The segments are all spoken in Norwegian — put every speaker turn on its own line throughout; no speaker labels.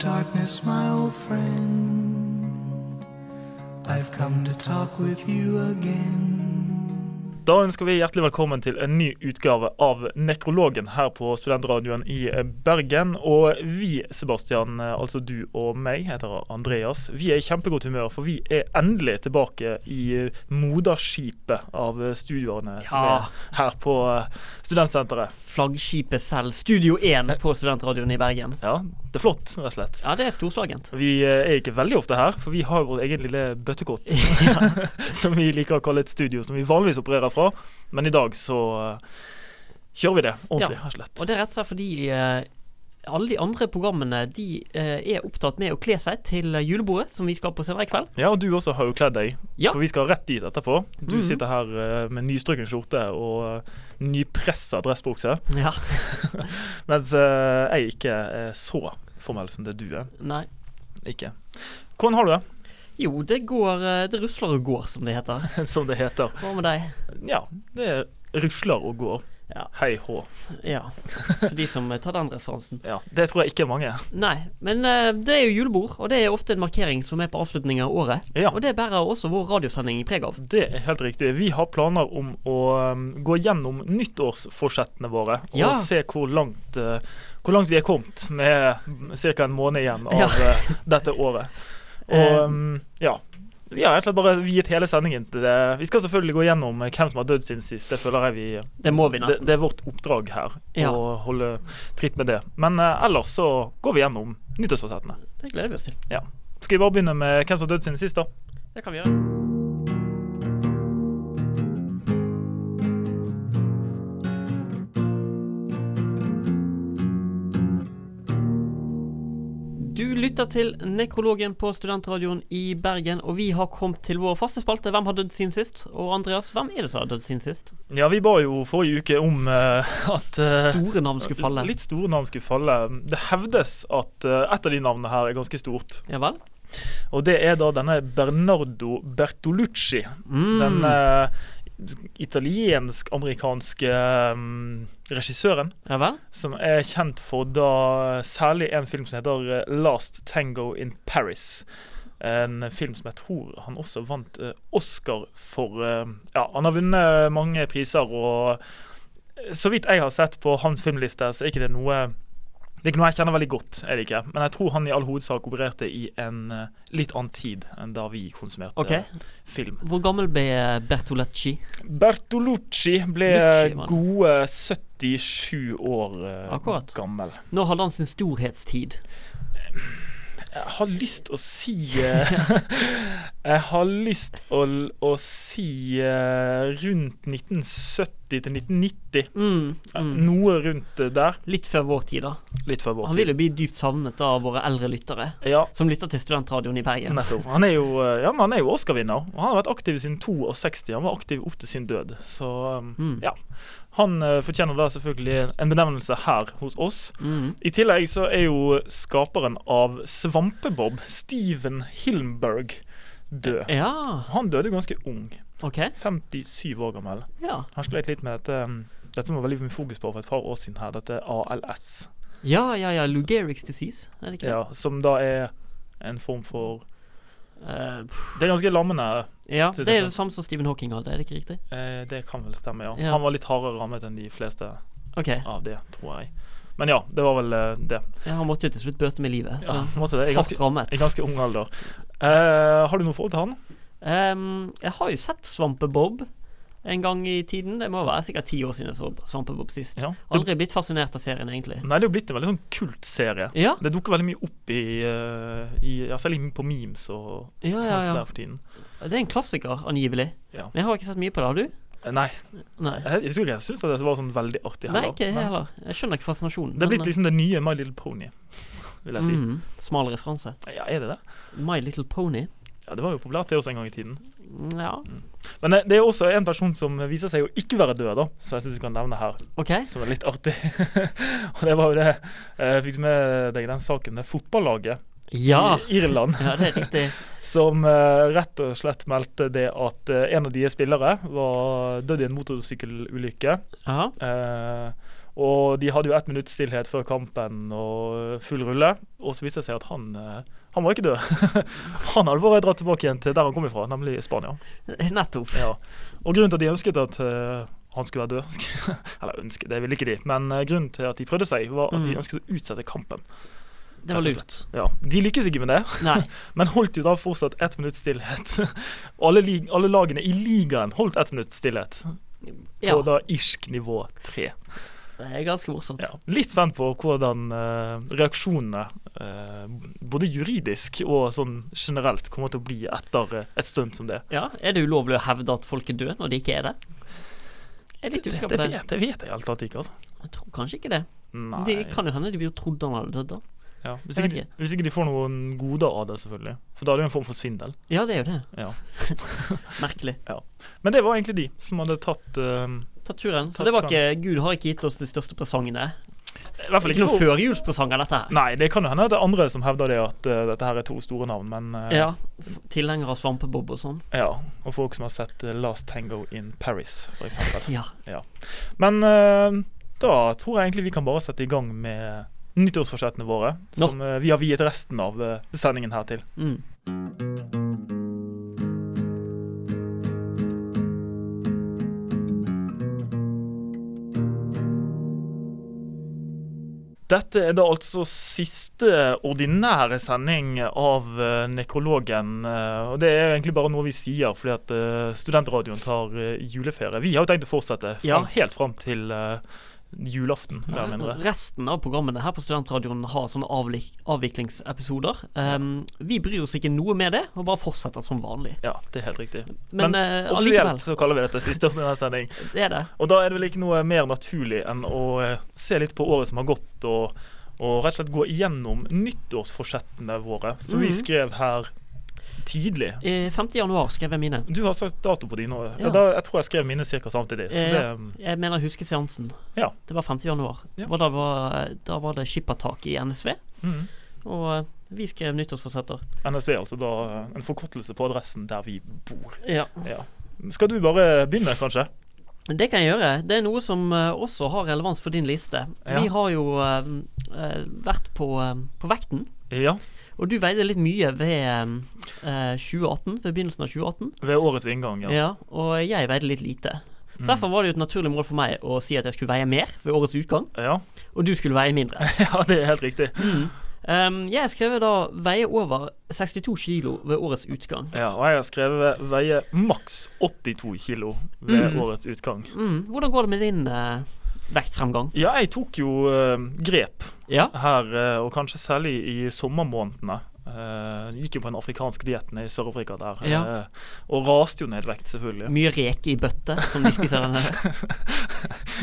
darkness, my old friend. I've come to talk with you again.
Da ønsker vi hjertelig velkommen til en ny utgave av Nekrologen her på Studentradioen i eh, Bergen. Og vi, Sebastian, altså du og meg, heter Andreas, vi er i kjempegodt humør, for vi er endelig tilbake i eh, moderskipet av eh, studioene som
Ja.
er her på eh, studentsenteret.
Flaggskipet selv, Studio 1 på Studentradioen i Bergen.
Ja, det er flott, rett og slett.
Ja, det er storslagent.
Vi eh, er ikke veldig ofte her, for vi har vår egen lille bøttekott. som vi liker å kalle et studio, som vi vanligvis opererer fra. Men i dag så eh, kjører vi det ordentlig.
Ja,
rett og slett.
Og det er rett og slett fordi eh, alle de andre programmene de eh, er opptatt med å kle seg til julebordet som vi skal på senere i kveld.
Ja, og du også har jo kledd deg,
Ja.
så vi skal rett dit etterpå. Du sitter her eh, med nystrøken skjorte og uh, nypressa dressbukse,
Ja,
mens eh, jeg ikke er så formell som det du er.
nei.
Ikke. Hvordan har du det,
Jo, det går eh, Det rusler og går, som det heter.
som det heter?
Hva med deg?
Ja, det rusler og går.
Ja.
Hei hå.
Ja. For de som eh, tar den referansen.
Ja, det tror jeg ikke er mange.
Nei, men eh, det er jo julebord, og det er ofte en markering som er på avslutning av året.
Ja.
Og det bærer også vår radiosending preg av.
Det er helt riktig. Vi har planer om å um, gå gjennom nyttårsforsettene våre og
Ja.
se hvor langt, uh, hvor langt vi er kommet med ca. en måned igjen av
Ja. Eh.
uh, dette året. Og um, ja. Vi har egentlig bare viet hele sendingen til det. Vi skal selvfølgelig gå gjennom uh, hvem som har dødd siden sist. Det føler jeg vi
Det må vi
det,
nesten.
det er vårt oppdrag her
Ja.
å holde tritt med det. Men uh, ellers så går vi gjennom nyttårsforsettene.
det gleder vi oss til.
Ja. Skal vi bare begynne med hvem som har dødd siden sist, da?
Det kan vi gjøre. Du lytter til Nekrologen på Studentradioen i Bergen, og vi har kommet til vår faste spalte Hvem har dødd siden sist? Og Andreas, hvem er det som har dødd siden sist?
Ja, vi ba jo forrige uke om uh, at uh,
Store navn skulle falle.
Litt store navn skulle falle. Det hevdes at eh, et av de navnene her er ganske stort.
Ja vel?
Og det er da denne Bernardo Bertolucci.
Mm.
Den eh, italiensk-amerikanske mm, regissøren
Ja vel?
som er kjent for da særlig en film som heter eh, Last Tango in Paris. En film som jeg tror han også vant eh, Oscar for. eh, Ja, han har vunnet mange priser, og så vidt jeg har sett på hans filmliste, så er ikke det noe det er ikke noe jeg kjenner veldig godt, er det ikke. men jeg tror han i all hovedsak opererte i en eh, litt annen tid enn da vi konsumerte
Ok.
film.
Hvor gammel ble Bertolacci?
Bertolucci ble
Lucci, var det.
gode 77 år eh,
Akkurat.
gammel.
Når hadde han sin storhetstid?
Jeg har lyst å si eh, Jeg har lyst å, l- å si eh, rundt 1970 til 1990.
Mm,
Eh,
mm.
Noe rundt eh, der.
Litt før vår tid, da.
Litt før vår
Han
tid.
vil jo bli dypt savnet av våre eldre lyttere.
Ja,
som lytter til studentradioen i Bergen.
nettopp. Han er jo, eh, ja, men han er jo Oscar-vinner. Og han har vært aktiv siden 62. Han var aktiv opp til sin død. Så eh,
Mm.
ja. Han eh, fortjener da selvfølgelig en benevnelse her hos oss.
Mm.
I tillegg så er jo skaperen av Svampebob, Steven Hillenberg, død.
Ja,
Han døde ganske ung.
OK.
57 år gammel.
Ja.
Han slet litt med dette um, Dette som var veldig mye fokus på for et par år siden her, dette ALS.
ja, ja, ja. Lou Gehrig's disease, er det ikke?
Ja, som da er en form for
Eh,
Det er ganske lammende.
ja,
Synes
det er
jeg
det samme som Stephen Hawking hadde, er det ikke riktig?
Eh, det kan vel stemme, ja.
Ja.
Han var litt hardere rammet enn de fleste
OK.
av det, tror jeg. Men ja, det var vel eh, det.
Ja, han måtte jo til slutt bøte med livet, så
Ja, måtte det. I
hardt
ganske,
rammet.
i ganske ung alder. Eh, har du noe forhold til han?
Ehm, jeg har jo sett Svampebob en gang i tiden. Det må være sikkert ti år siden jeg så Svampebob sist.
Ja.
Aldri blitt fascinert av serien, egentlig.
Nei, det er jo blitt en veldig sånn kultserie.
Ja,
Det dukker veldig mye opp i, eh, i ja, Særlig på memes og
ja, ja,
sånn som det
ja.
er for tiden.
Det er en klassiker, angivelig.
Ja.
Men jeg har ikke sett mye på det. Har du?
Eh, Nei,
Nei.
jeg, jeg, jeg syns det var sånn veldig artig
Nei,
heller.
ikke jeg
Men-
heller. Jeg skjønner ikke fascinasjonen.
Det er
men- eh,
blitt liksom det nye My Little Pony, vil jeg si.
Mm, smal referanse.
Ja, er det det?
My Little Pony.
Ja, Det var jo populært det også en gang i tiden.
Ja,
Men eh, det er også en person som viser seg å ikke være død, da, som jeg syns vi kan nevne her,
OK.
som er litt artig. og det var jo det eh, Jeg fikk med deg den saken med fotballaget
Ja.
i Irland,
ja, det er riktig.
som eh, rett og slett meldte det at eh, en av deres spillere var død i en motorsykkelulykke.
Ja.
eh, Og de hadde jo ett minutts stillhet før kampen og full rulle. Og så viste det seg at han, eh, han var ikke død. han hadde bare dratt tilbake igjen til der han kom ifra, nemlig Spania.
Nettopp.
Ja. Og grunnen til at de ønsket at eh, han skulle være død Eller ønsket, det ville ikke de, men eh, grunnen til at de prøvde seg, var at de
Mm.
ønsket å utsette kampen.
Det var
Rett og
lurt.
Ja, De lykkes ikke med det,
Nei.
men holdt jo da fortsatt ett minutts stillhet. Og alle, lig- alle lagene i ligaen holdt ett minutts stillhet,
Ja.
på da irsk nivå tre.
Det er ganske morsomt.
Ja. Litt spent på hvordan eh, reaksjonene, eh, både juridisk og sånn generelt, kommer til å bli etter eh, et stunt som det.
Ja, Er det ulovlig å hevde at folk er døde når de ikke er det? Jeg er litt
Det,
usikker
det,
på det.
vet, det vet jeg helt tatt ikke, altså.
Jeg tror kanskje ikke det.
Nei.
Det kan jo hende de blir trodd han hadde dødd da.
ja. hvis,
jeg
ikke
vet
de, hvis ikke de får noen goder av det, selvfølgelig. For da er det jo en form for svindel.
Ja, det er jo det.
Ja.
Merkelig.
Men det var egentlig de som hadde tatt eh,
Ta turen. Så
Takk,
det var
Karen.
ikke Gud har ikke gitt oss de største presangene.
I hvert fall
Ikke
ikke
noen
for
førjulspresang av dette her.
Nei, det kan jo hende at det er andre som hevder det at eh, dette her er to store navn, men eh,
Ja. f- Tilhengere av svampebob og sånn.
ja. Og folk som har sett eh, Last Tango in Paris, for eksempel.
Ja.
Men eh, da tror jeg egentlig vi kan bare sette i gang med nyttårsforsettene våre.
Nå.
Som eh, vi har viet resten av eh, sendingen her til.
Mm.
Dette er da altså siste ordinære sending av eh, Nekrologen. eh, og det er egentlig bare noe vi sier fordi at eh, studentradioen tar eh, juleferie. Vi har jo tenkt å fortsette fram,
Ja.
helt fram til eh, julaften, mer eller mindre.
Resten av programmene her på Studentradioen har sånne avlik avviklingsepisoder. Um, vi bryr oss ikke noe med det, og bare fortsetter som vanlig.
Ja, det er helt riktig.
Men,
Men
eh, allikevel,
Offisielt så kaller vi dette siste ordinære sending.
det er det.
Og da er det vel ikke noe mer naturlig enn å eh, se litt på året som har gått, og, og rett og slett gå igjennom nyttårsforsettene våre, som vi
Mhm.
skrev her tidlig.
Eh, 5. januar skrev jeg mine.
Du har sagt dato på dine.
Ja.
Ja. Da, jeg tror jeg skrev mine ca. samtidig. Så
Eh,
det,
Jeg mener jeg husker seansen.
Ja.
Det var 5. januar.
Ja.
Det var, da, var, da var det skippertak i NSV,
mhm.
og eh, vi skrev nyttårsforsetter.
NSV er altså da eh, en forkortelse på adressen der vi bor.
Ja.
Ja. Skal du bare begynne, kanskje?
Det kan jeg gjøre. Det er noe som eh, også har relevans for din liste.
Ja.
Vi har jo eh, eh, vært på, eh, på vekten,
Ja.
og du veide litt mye ved eh, 2018, ved begynnelsen av 2018.
Ved årets inngang,
Ja. Mm.
ja.
og jeg veide litt lite. Så Derfor var det jo et naturlig mål for meg å si at jeg skulle veie mer ved årets utgang,
Ja,
og du skulle veie mindre.
ja det er helt riktig.
Um, jeg skrev da veie over 62 kilo ved årets utgang.
Ja, og jeg har skrevet veie maks 82 kilo ved årets utgang.
Mm, hvordan går det med din eh, vektfremgang?
Ja, jeg tok jo eh, grep
Ja.
her, eh, og kanskje særlig i sommermånedene. Eh, gikk jo på en afrikansk diett nede i Sør-Afrika der, eh,
Ja.
og raste jo ned vekt, selvfølgelig.
Mye reke i bøtte, som de spiser der nede.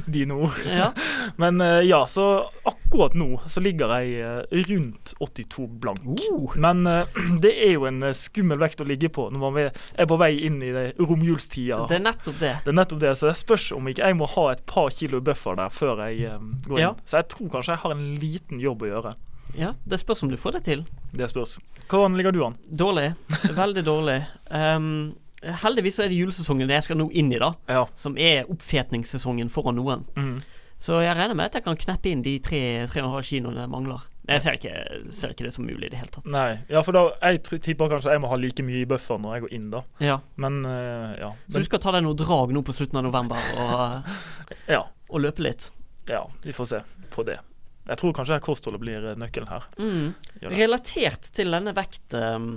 Dine ord.
Ja.
Men eh, ja, så akkurat nå så ligger jeg eh, rundt 82 blank.
Uh.
Men eh, det er jo en eh, skummel vekt å ligge på når man er på vei inn i det romjulstida.
Det er nettopp det.
Det er nettopp det, så det spørs om ikke jeg må ha et par kilo buffer der før jeg eh, går inn.
Ja.
Så jeg tror kanskje jeg har en liten jobb å gjøre.
Ja, Det spørs om du får det til.
Det spørs. Hvordan ligger du an?
Dårlig. Veldig dårlig. Um, heldigvis så er det julesesongen jeg skal nå inn i, da.
Ja.
Som er oppfetningssesongen foran noen.
Mm.
Så jeg regner med at jeg kan kneppe inn de tre, tre og en halv kiloene jeg mangler. Men jeg ser ikke, ser ikke det som mulig i det hele tatt.
Nei. Ja, for da jeg tr- tipper kanskje jeg må ha like mye i buffer når jeg går inn, da.
Ja.
Men eh, ja.
Så
Men,
du skal ta deg noe drag nå på slutten av november og,
ja.
og løpe litt?
Ja, vi får se på det. Jeg tror kanskje her kostholdet blir eh, nøkkelen her.
Mm.
Gjør det.
Relatert til denne vekt... Um,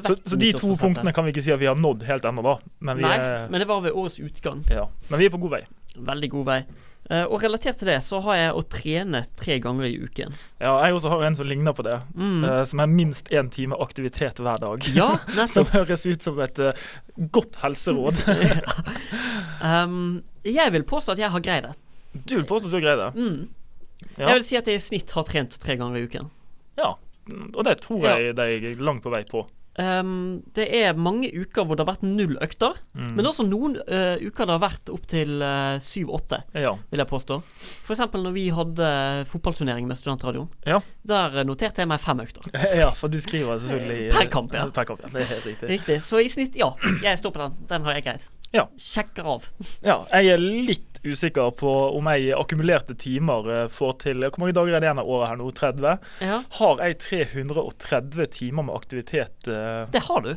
Så, så de to
vektnyttårsforsettet.
punktene kan vi ikke si at vi har nådd helt ennå, da. Men vi, eh,
Nei,
er,
men det var ved årets utgang.
ja. men vi er på god vei.
Veldig god vei. Eh, og relatert til det så har jeg å trene tre ganger i uken.
Ja, jeg også har en som ligner på det. eh, som er minst én time aktivitet hver dag.
Mm. Ja,
Som
nettopp.
høres ut som et eh, godt helseråd.
Um, jeg vil påstå at jeg har greid det.
Du vil påstå at du har greid det?
Mm.
Ja.
Jeg vil si at jeg i snitt har trent tre ganger i uken.
Mm, Ja. Og det tror jeg deg langt på vei på.
ehm, det er mange uker hvor det har vært null økter.
Mm.
Men også noen eh, uker det har vært opptil syv-åtte,
Ja.
vil jeg påstå. F.eks. når vi hadde fotballturnering med studentradioen.
Ja.
Der eh, noterte jeg meg fem økter.
ja, for du skriver selvfølgelig eh,
Per kamp, ja.
Per kamp, ja. Det er helt riktig.
Riktig. Så i snitt, ja. Jeg står på den. Den har jeg greid.
Ja.
Sjekker av.
Ja, jeg er litt usikker på om jeg i akkumulerte timer eh, får til Hvor mange dager er det igjen av året her nå? 30?
Ja.
Har jeg 330 timer med aktivitet? eh,
Det har du.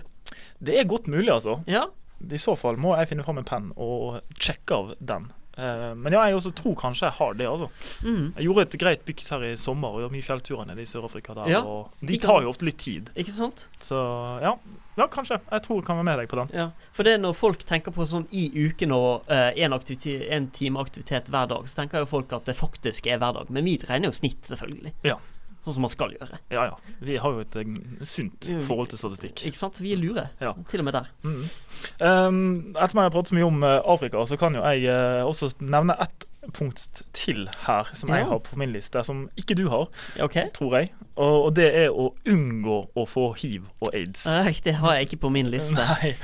Det er godt mulig, altså.
Ja.
I så fall må jeg finne fram en penn og sjekke av den. Eh, Men ja, jeg også tror kanskje jeg har det, altså.
Mm.
Jeg gjorde et greit byks her i sommer og gjorde mye fjellturer nede i Sør-Afrika der.
Ja,
Og
de
de
kan-
tar jo ofte litt tid,
Ikke sant?
så ja. Ja, kanskje. Jeg tror jeg kan være med deg på den.
Ja. For det er når folk tenker på sånn i uken og eh, én time aktivitet hver dag, så tenker jo folk at det faktisk er hver dag. Men vi regner jo snitt, selvfølgelig.
Ja.
Sånn som man skal gjøre.
Ja ja. Vi har jo et eh, sunt
Jo, vi-
forhold til statistikk.
Ikke sant? Vi er lure.
Ja.
Til og med der.
Mm. Um, ettersom jeg har pratet så mye om eh, Afrika, så kan jo jeg eh, også nevne ett punkt til her som
Ja.
jeg har på min liste, som ikke du har,
OK?
tror jeg. Og, og det er å unngå å få hiv og aids.
Eh, det har jeg ikke på min liste.
Nei,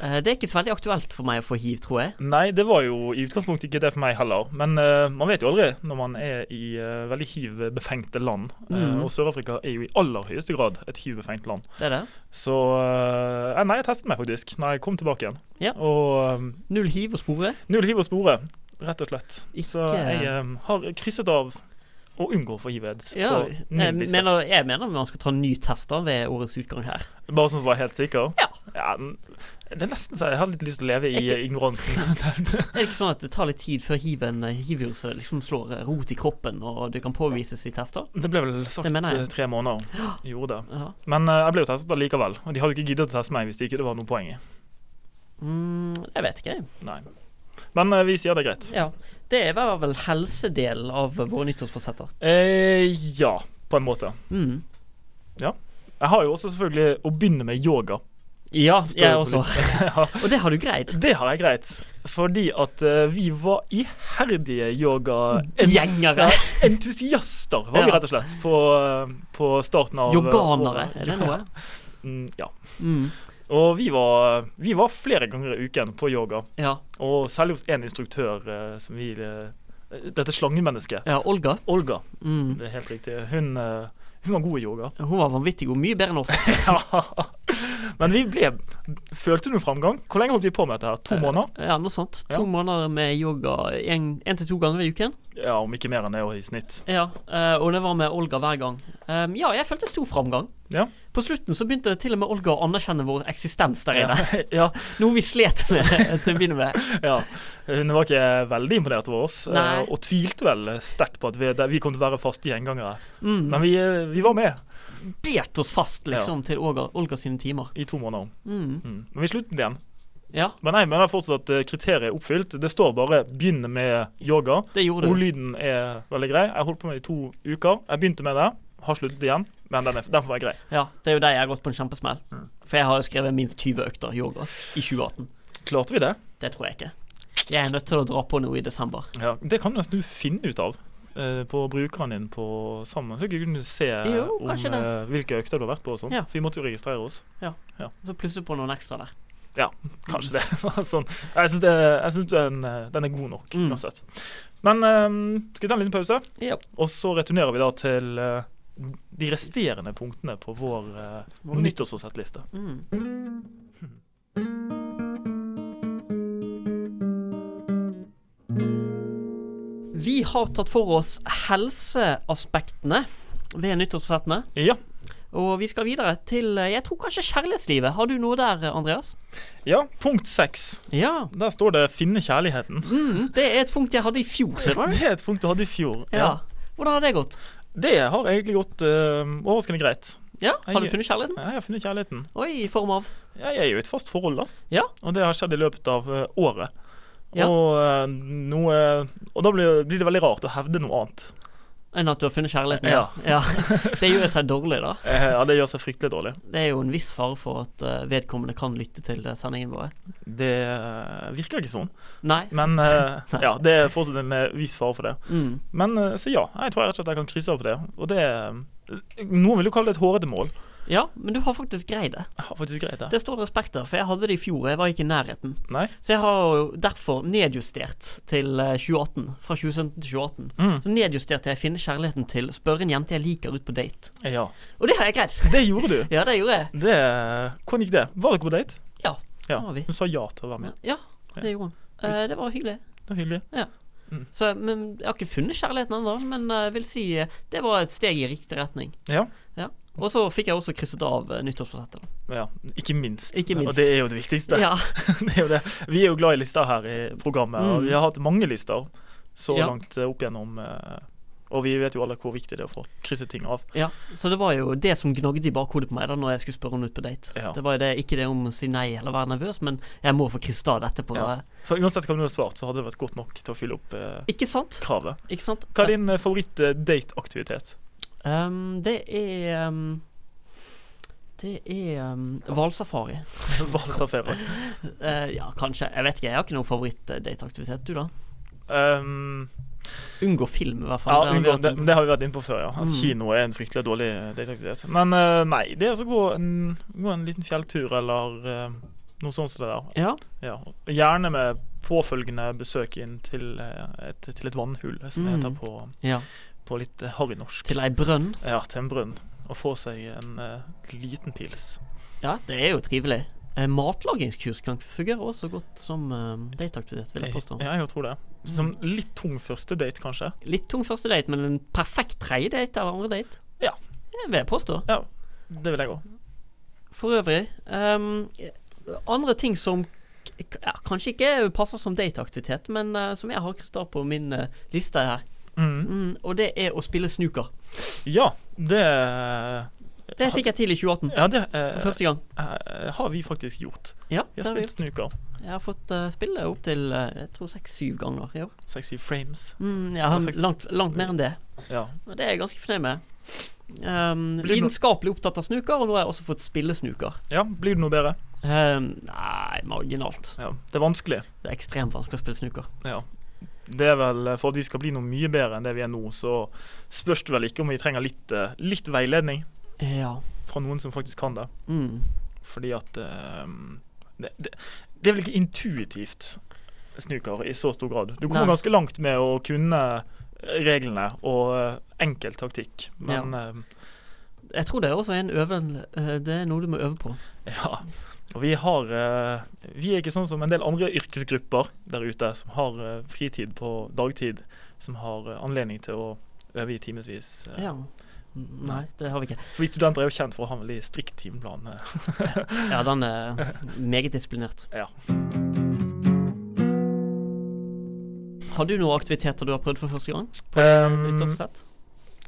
Eh, det er ikke så veldig aktuelt for meg å få hiv, tror jeg.
nei, det var jo i utgangspunktet ikke det for meg heller. Men eh, man vet jo aldri når man er i eh, veldig hiv-befengte land. Eh,
Mm.
og Sør-Afrika er jo i aller høyeste grad et hiv-befengt land.
Det er det.
Så eh, Nei, jeg testet meg faktisk når jeg kom tilbake igjen.
Ja.
Og um,
Null hiv å spore.
Null hiv å spore, rett og slett. Så
Ikke-
jeg eh, har krysset av å unngå å få hiv-aids
Ja, eh,
på
jeg
min liste.
mener, jeg mener man skal ta en ny test da ved årets utgang her.
Bare sånn for å være helt sikker.
Ja.
men det er nesten så jeg har litt lyst til å leve i
Ikke-
eh, ignoransen.
Er det ikke sånn at det tar litt tid før hiven- hivviruset liksom slår eh, rot i kroppen, og det kan påvises i tester?
det ble vel sagt
Det mener jeg.
eh, tre måneder. Gjorde det.
Ja.
Men eh, jeg ble jo testet allikevel. Og de hadde jo ikke giddet å teste meg hvis det ikke det var noe poeng i.
Mm, jeg vet ikke, jeg.
Nei. Men eh, vi sier det er greit.
Ja. Det var vel helsedelen av våre nyttårsforsetter.
Eh, ja, på en måte.
Mm.
Jeg har jo også selvfølgelig å begynne med yoga.
Ja,
Står
jeg
jo på
også.
listen. ja.
Og det har du greid.
Det har jeg greit, fordi at eh, vi var iherdige yoga-entusiaster,
Gjengere.
var vi
Ja.
rett og slett, på, eh, på starten av
Jorganere,
året.
er det noe?
Mm, Ja.
Mm.
Og vi var, eh, vi var flere ganger i uken på yoga,
Ja. og-
og særlig hos én instruktør eh, som vi eh, Dette slangemennesket.
ja. Olga.
Olga,
Mm.
det er helt riktig. Hun, eh, hun var god i yoga.
Hun var vanvittig god. Mye bedre enn oss.
Ja. Men vi ble Følte noe framgang? Hvor lenge holdt vi på med dette? her? To måneder?
Ja, noe sånt.
Ja.
To måneder med yoga én til to ganger i uken.
Ja, om ikke mer enn det i snitt.
Ja, eh, og det var med Olga hver gang. Ehm, ja, jeg følte stor framgang.
Ja.
På slutten så begynte til og med Olga å anerkjenne vår eksistens der inne.
ja.
Noe vi slet med til å begynne med.
Ja, Hun var ikke veldig imponert over oss, eh,
Nei.
og tvilte vel sterkt på at vi, det- vi kom til å være faste gjengangere.
Mm,
Men vi, eh, vi var med
bet oss fast liksom til Olga, Olga sine timer.
i to måneder.
Mm,
Mm. Men vi sluttet igjen.
ja,
Men jeg mener fortsatt at eh, kriteriet er oppfylt. Det står bare 'begynne med yoga'.
det gjorde du.
Ordlyden er veldig grei. Jeg holdt på med det i to uker. Jeg begynte med det, har sluttet igjen. Men den, er, den får være grei.
Ja, det er jo der jeg har gått på en kjempesmell.
Mm.
For jeg har jo skrevet minst 20 økter yoga i 2018.
Klarte vi det?
Det tror jeg ikke. Jeg er nødt til å dra på noe i desember.
Ja, Det kan du nesten finne ut av eh, på brukeren din på sammen. Så kan du se eh,
Jo,
om,
kanskje det.
eh, hvilke økter du har vært på og sånn.
Ja.
For vi måtte jo registrere oss.
Så plusser på noen ekstra der.
Kanskje det. sånn. Jeg syns den, eh, den er god nok,
Mm.
uansett. Men eh, skal vi ta en liten pause,
Ja.
og så returnerer vi da til eh, de resterende punktene på vår uh,
Vår nytt-
nyttårsforsettliste.
Mm. Vi har tatt for oss helseaspektene ved nyttårsforsettene.
Ja.
Og vi skal videre til eh, jeg tror kanskje kjærlighetslivet. Har du noe der, eh, Andreas?
ja, punkt seks.
Ja.
Der står det 'finne kjærligheten'.
Mm, det er et punkt jeg hadde i fjor.
Det
skjønner du?
er et punkt du hadde i fjor.
Ja. Hvordan har det gått?
Det har egentlig gått eh, overraskende greit.
Ja, Har du
Jeg-
funnet kjærligheten?
Jeg har funnet kjærligheten.
Oi, i form av
Jeg er jo i et fast forhold, da.
Ja.
Og det har skjedd i løpet av eh, året.
Ja.
Og, eh, noe, og da blir, blir det veldig rart å hevde noe annet.
enn at du har funnet kjærligheten? ja. Det gjør seg dårlig, da.
Eh, Ja, det gjør seg fryktelig dårlig.
Det er jo en viss fare for at eh, vedkommende kan lytte til eh, sendingen vår.
Det eh, virker ikke sånn.
Nei.
Men eh,
Nei.
ja, det er fortsatt en eh, viss fare for det.
Mm.
Men eh, så ja, jeg tror rett og slett jeg kan krysse av på det. Og det eh, Noen vil jo kalle det et hårete mål,
Ja, men du har faktisk greid det.
Jeg har faktisk greid det.
Det står det respekt av, for jeg hadde det i fjor, og jeg var ikke i nærheten.
Nei?
Så jeg har jo derfor nedjustert til eh, 2018. Fra 2017 til 2018.
Mm.
Så nedjusterte jeg 'Finne kjærligheten til spørre en jente jeg liker, ut på date'.
Ja.
Og det har jeg greid!
Det gjorde du.
Ja, det gjorde jeg.
Det, eh, hvordan gikk det? Var dere på date?
Ja.
Ja.
det var vi.
Hun sa ja til å være med.
Ja, det gjorde hun. Eh, det var hyggelig.
Det var hyggelig.
Så, men jeg har ikke funnet kjærligheten ennå, men eh, jeg vil si eh, det var et steg i riktig retning.
Ja.
Ja. Og så fikk jeg også krysset av eh, nyttårsforsettet.
ja. Ikke minst.
Ikke minst.
Og det er jo det viktigste.
Ja,
det er jo det. Vi er jo glad i lister her i programmet, og
Mm.
vi har hatt mange lister så
Ja.
langt eh, opp gjennom eh, Og vi vet jo alle hvor viktig det er å få krysset ting av.
ja. Så det var jo det som gnagde i bakhodet på meg da når jeg skulle spørre henne ut på date.
Ja.
Det var jo det, ikke det om å si nei eller være nervøs, men jeg må få krysset av dette på
Ja. For Uansett hva du har svart, så hadde det vært godt nok til å fylle opp eh,
Ikke sant?
kravet.
Ikke sant?
Hva er din eh, favoritt-date-aktivitet?
Um, det er um, Det er um, hvalsafari.
Hvalsafari.
Eh, ja, kanskje. Jeg vet ikke, jeg har ikke noen favoritt-dateaktivitet. Du, da?
Um,
Unngå film, i hvert
ja,
fall. Det har vi
unngå,
vært
det,
inne på.
det har vi vært inne på før, ja. At
Mm.
kino er en fryktelig dårlig eh, dateaktivitet. Men eh, nei, det er altså å gå en, gå en liten fjelltur eller eh, noe sånt som det der.
Ja.
Ja, og gjerne med påfølgende besøk inn til eh, et, til et vannhull, som det heter
Mm.
på,
ja.
på litt eh, harry norsk.
Til ei brønn.
Ja, til en brunn. Og få seg en eh, liten pils.
Ja, det er jo trivelig. Eh, matlagingskurs kan fungere også godt som eh, dateaktivitet, vil jeg påstå. Mm.
Ja, jeg tror det. Som litt tung første date, kanskje.
Litt tung første date, men en perfekt tredje date eller andre date.
Ja.
Det vil jeg påstå.
Ja, det vil jeg òg.
For øvrig ehm, Andre ting som k- k- ja, kanskje ikke passer som dateaktivitet, men eh, som jeg har krystall på min eh, liste her,
Mm.
mm, og det er å spille snooker.
Ja, det eh,
Det fikk jeg til i 2018.
Ja, det eh,
For første gang.
eh, har vi faktisk gjort.
Ja,
Vi
det
har
har vi
spilt
gjort.
snooker.
Jeg har fått eh, spille opptil jeg tror seks-syv ganger i år.
Seks-syv frames.
Mm, jeg har
Seks-
langt, langt mer enn det.
Ja.
Og det er jeg ganske fornøyd med. Um,
Blir det no-
lidenskapelig opptatt av snooker, og nå har jeg også fått spille snooker.
ja. Blir det noe bedre?
Um, nei, marginalt.
Ja. Det er vanskelig.
Det er ekstremt vanskelig å spille snooker.
Ja. Det er vel eh, For at vi skal bli noe mye bedre enn det vi er nå, så spørs det vel ikke om vi trenger litt, eh, litt veiledning
Ja.
fra noen som faktisk kan det.
Mm.
Fordi at eh, det, det, det er vel ikke intuitivt snooker i så stor grad. Du kommer
Nei.
ganske langt med å kunne eh, reglene og eh, enkel taktikk, men eh, ja.
Jeg tror det er også en øven, eh, det er noe du må øve på.
ja. Og vi har eh, Vi er ikke sånn som en del andre yrkesgrupper der ute som har eh, fritid på dagtid, som har eh, anledning til å øve i timevis. eh,
Ja. Nei, det har vi ikke.
For vi studenter er jo kjent for å ha en veldig strikt timeplan. eh.
Ja, den er meget disiplinert.
Ja.
Har du noen aktiviteter du har prøvd for første gang?
Ehm,
Nyttårsforsett?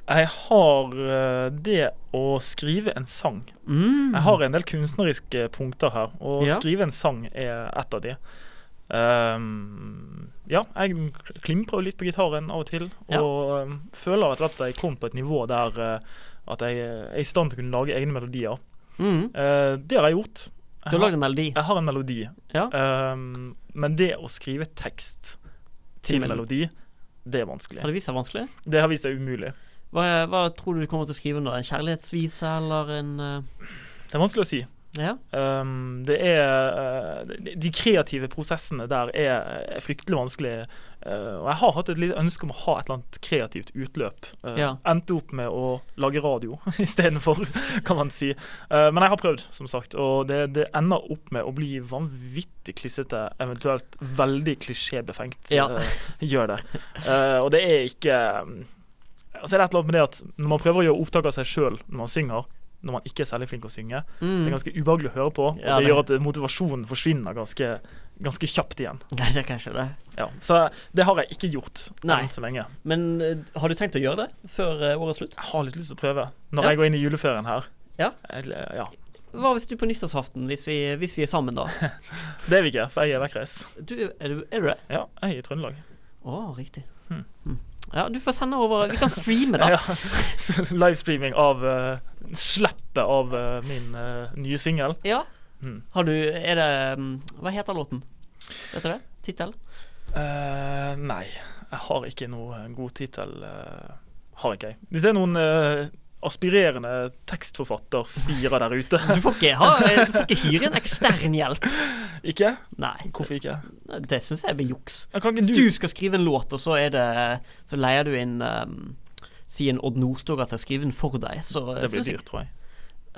jeg har eh, det å skrive en sang.
Mm.
Jeg har en del kunstneriske punkter her, og å
Ja.
skrive en sang er ett av de. Ehm, ja, jeg klimprer jo litt på gitaren av og til, og
Ja.
ehm, føler etter hvert at jeg kom på et nivå der eh, at jeg er i stand til å kunne lage egne melodier.
Mm.
Eh, det har jeg gjort. Jeg
Du har lagd
har,
en melodi.
jeg har en melodi,
Ja.
ehm, men det å skrive tekst
Til
til melodi, det er vanskelig.
Har det vist seg vanskelig?
Det har vist seg umulig.
Hva, hva tror du du kommer til å skrive nå? En kjærlighetsvise eller en eh,
Det er vanskelig å si.
Ja?
Um, det er eh, de- De kreative prosessene der er, er fryktelig vanskelig. Eh, og jeg har hatt et lite ønske om å ha et eller annet kreativt utløp. Eh,
Ja.
Endte opp med å lage radio istedenfor, kan man si. Eh, men jeg har prøvd, som sagt. Og det, det ender opp med å bli vanvittig klissete, eventuelt veldig klisjébefengt.
Ja.
eh, gjør det. Eh, og det er ikke Altså, det er et eller annet med det at når man prøver å gjøre opptak av seg sjøl når man synger, når man ikke er særlig flink å synge, det er
Mm.
ganske ubehagelig å høre på, og
Ja,
det
det-
gjør at motivasjonen forsvinner ganske, ganske kjapt igjen.
Nei, det er kanskje det.
Ja. Så det har jeg ikke gjort
Nei.
enn så lenge.
Men eh, har du tenkt å gjøre det før eh, årets slutt?
Jeg har litt lyst til å prøve når
Ja.
jeg går inn i juleferien her.
Ja.
Eller, ja.
Hva hvis du på nyttårsaften, hvis vi, hvis vi er sammen da?
Det er vi ikke, for jeg er vekkreist.
Du, er, du, er du det?
Ja, jeg er i Trøndelag.
Å, riktig.
Mm.
Mm. Ja, du får sende over Vi kan streame, da.
Ja. Så Livestreaming av eh, Sleppet av eh, min eh, nye singel.
Ja.
Mm.
Har du Er det mm, Hva heter låten? Vet du det? Tittel?
Eh, nei, jeg har ikke noe god tittel. eh, har ikke jeg. Hvis det er noen eh, aspirerende tekstforfatter spirer der ute.
Du får ikke, ha, du får ikke hyre en ekstern hjelp.
Ikke?
Nei,
Hvorfor ikke?
det syns jeg blir juks.
Ja, Kan
Hvis
ikke
du
du
skal skrive en låt, og så er det Så leier du inn ehm, Si en Odd Nordstoga til å skrive den for deg, så
Det blir
synes jeg-
dyrt, tror jeg.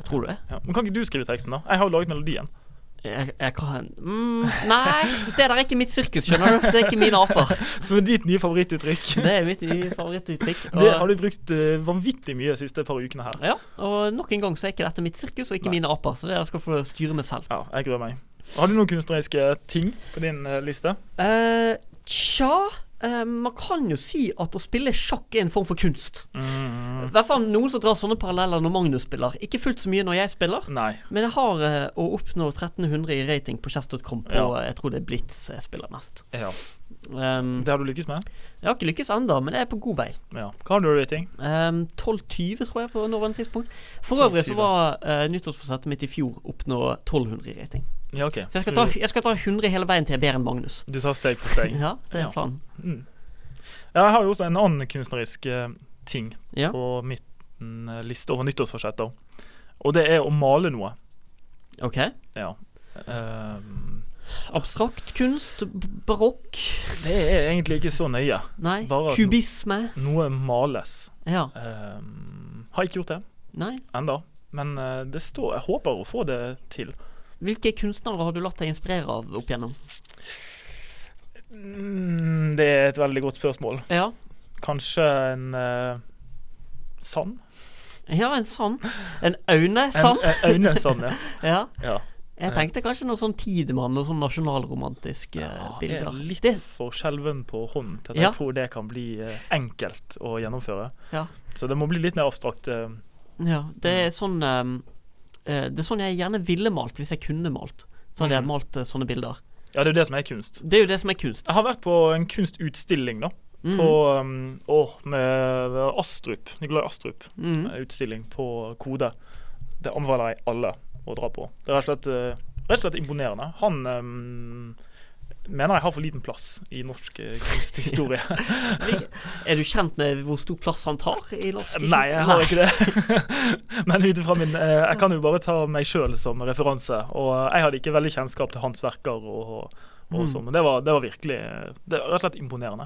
Tror du det?
Ja. Men kan ikke du skrive teksten, da? Jeg har jo laget melodien.
Jeg, jeg kan mm, Nei, det der er ikke mitt sirkus, skjønner du. Det er ikke mine aper.
Som er ditt nye favorittuttrykk.
Det er mitt nye favorittuttrykk.
Det har du brukt eh, vanvittig mye de siste par ukene her.
ja, og nok en gang så er ikke dette mitt sirkus, og ikke
Nei.
mine aper, så det der skal du få styre med selv.
Ja, jeg gruer meg. Har du noen kunstneriske ting på din eh, liste?
Eh, tja eh, Man kan jo si at å spille sjakk er en form for kunst. I hvert fall noen som drar sånne paralleller når Magnus spiller. Ikke fullt så mye når jeg spiller.
Nei.
Men jeg har eh, å oppnå 1300 i rating på chess.com på
Ja.
eh, Jeg tror det er Blitz jeg spiller mest.
Ja.
Ehm,
Det har du lykkes med?
jeg har ikke lykkes ennå, men jeg er på god vei.
Ja. Hva har du i rating?
Ehm, 1220, tror jeg, på nåværende tidspunkt. For
Sånn
øvrig så
20.
var eh, nyttårsforsettet mitt i fjor oppnå 1200 i rating.
Ja, OK.
Så jeg skal, ta, jeg skal ta 100 hele veien til jeg er bedre enn Magnus.
Du tar steg for steg.
Ja, det er
Ja.
planen.
Mm. Ja, jeg har jo også en annen kunstnerisk eh, ting
Ja.
på min eh, liste over nyttårsforsetter. Og det er å male noe.
OK.
Ja. Ehm,
Abstrakt kunst, b- barokk
det er egentlig ikke så nøye.
Nei.
Bare at-
Kubisme.
Noe males.
Ja.
Ehm, har ikke gjort det
Nei.
enda. Men eh, det står Jeg håper å få det til.
Hvilke kunstnere har du latt deg inspirere av opp igjennom?
Mm, det er et veldig godt spørsmål.
Ja.
Kanskje en eh, sand?
Ja, en sand. En Aune sand.
En, en Aunesand, ja.
Ja.
ja. Eh.
Jeg tenkte kanskje noe sånn Tidemann og sånn nasjonalromantiske eh,
Ah, det er
bilder.
litt
Det,
for skjelven på hånden til at
Ja.
jeg tror det kan bli eh, enkelt å gjennomføre.
ja.
Så det må bli litt mer abstrakt. eh.
ja. Det er sånn eh, eh, Det er sånn jeg gjerne ville malt hvis jeg kunne malt. Så hadde jeg
Mm.
malt eh, sånne bilder.
Ja, det er jo det som er kunst.
Det er jo det som er kunst.
Jeg har vært på en kunstutstilling, da.
Mm.
På um, å, med Astrup. Nikolai Astrup. Eh,
Mm.
Utstilling på Kode. Det anbefaler jeg alle å dra på. Det er rett og slett, eh, rett og slett imponerende. Han em, mener jeg har for liten plass i norsk eh, kunsthistorie.
Er du kjent med hvor stor plass han tar i norsk kunst?
Nei, jeg har ikke det. Men ut ifra min eh, Jeg kan jo bare ta meg sjøl som referanse. Og jeg hadde ikke veldig kjennskap til hans verker og, og
Mm.
sånn. Men det var, det var virkelig eh, Det var rett og slett imponerende.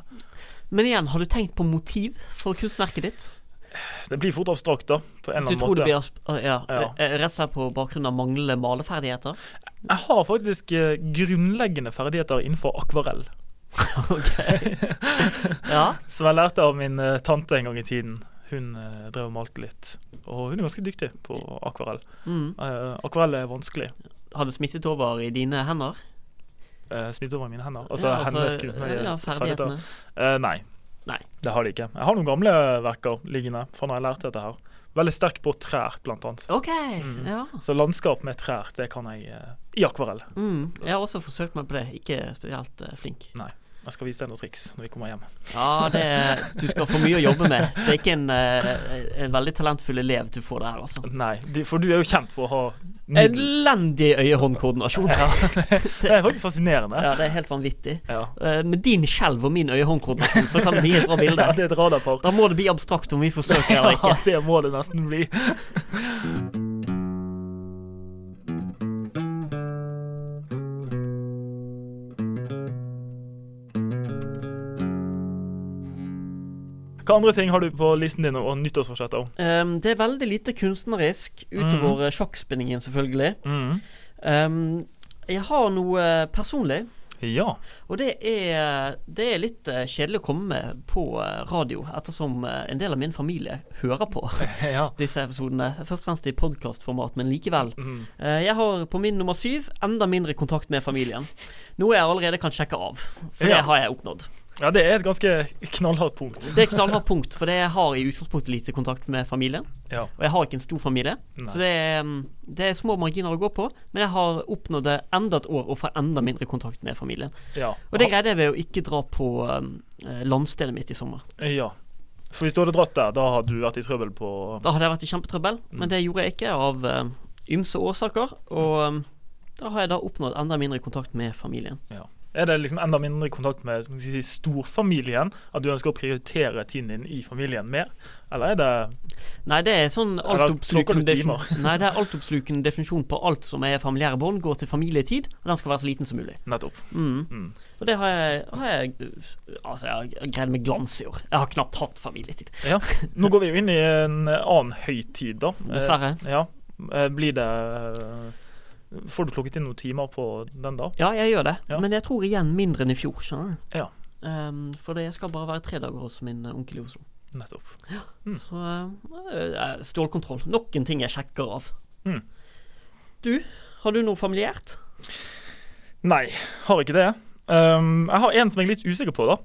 Men igjen, har du tenkt på motiv for kunstverket ditt?
Det blir fort abstrakt, da. På en eller
Du
annen
tror
måte.
det blir asp- ja,
Ja.
eh, rett og slett på bakgrunn av manglende maleferdigheter?
Jeg har faktisk eh, grunnleggende ferdigheter innenfor akvarell.
Ja.
Som jeg lærte av min eh, tante en gang i tiden. Hun eh, drev og malte litt. Og hun er ganske dyktig på akvarell.
Mm.
Eh, akvarell er vanskelig.
Har det smittet over i dine hender?
Uh, Smitt over i mine hender. Altså,
Ja, altså,
hennes kunstnerlige
ja,
ferdigheter.
ferdighetene.
Eh, nei.
Nei.
Det har de ikke. Jeg har noen gamle verker liggende fra når jeg lærte dette her. Veldig sterk på trær, blant annet.
OK.
Mm.
Ja.
Så landskap med trær, det kan jeg eh, i akvarell.
Mm. Jeg har også forsøkt meg på det. Ikke spesielt eh, flink.
Nei. Jeg skal vise deg noen triks når vi kommer hjem.
Ja, det er, Du skal få mye å jobbe med. Det er ikke en, eh, en veldig talentfull elev du får der, altså.
Nei, de- for du er jo kjent for å ha middel.
Elendig øye-hånd-koordinasjon. Ja.
Det er faktisk fascinerende.
det er helt vanvittig.
Ja.
Eh, Med din skjelv og min øye-hånd-koordinasjon så kan det bli et bra
Ja,
bilde.
det er et radarpar.
Da må det bli abstrakt om vi forsøker
Ja,
eller ikke.
det må det nesten bli. Hva andre ting har du på listen din og nyttårsforsetter?
Ehm, det er veldig lite kunstnerisk, utover eh, sjakkspinningen, selvfølgelig.
Mm.
Ehm, jeg har noe eh, personlig,
Ja.
og det er, det er litt eh, kjedelig å komme med på eh, radio, ettersom eh, en del av min familie hører på
ja.
disse episodene. Først og fremst i podkastformat, men likevel.
Mm.
Eh, jeg har på min nummer syv enda mindre kontakt med familien. Noe jeg allerede kan sjekke av, for
Ja.
det har jeg oppnådd.
ja, det er et ganske knallhardt punkt.
Det er knallhardt punkt, for jeg har i utgangspunktet lite kontakt med familien.
Ja.
Og jeg har ikke en stor familie,
Nei.
så det er, mm, det er små marginer å gå på. Men jeg har oppnådd det enda et år å få enda mindre kontakt med familien.
Ja.
Og det greide jeg ved å ikke dra på um, eh, landstedet mitt i sommer.
ja. For hvis du hadde dratt der, da hadde du vært i trøbbel på
Da hadde jeg vært i kjempetrøbbel, men det gjorde jeg ikke av eh, ymse årsaker. Og um, da har jeg da oppnådd enda mindre kontakt med familien.
ja. Er det liksom enda mindre kontakt med skal vi si, storfamilien? At du ønsker å prioritere tiden din i familien mer? Eller er det
Nei, det er sånn
Eller plukker du
altoppslukende defin-
timer?
Nei, det er altoppslukende definisjon på alt som er familiære bånd, går til familietid, og den skal være så liten som mulig.
nettopp?
Mm.
Mm.
Og det har jeg, har jeg Altså, jeg har greid meg glans i år. Jeg har knapt hatt familietid,
Ja. Nå går vi jo inn i en annen høytid, da. Eh,
dessverre.
Ja. Eh, Blir det eh, Får du plukket inn noen timer på den da?
Ja, jeg gjør det,
Ja.
men jeg tror igjen mindre enn i fjor, skjønner du.
Ja.
Ehm, for det skal bare være tre dager hos min eh, onkel i Oslo.
Nettopp. Mm.
Så eh, eh, stålkontroll. Nok en ting jeg sjekker av.
Mm.
Du, har du noe familiært?
Nei, har ikke det. Um, jeg har en som jeg er litt usikker på, da.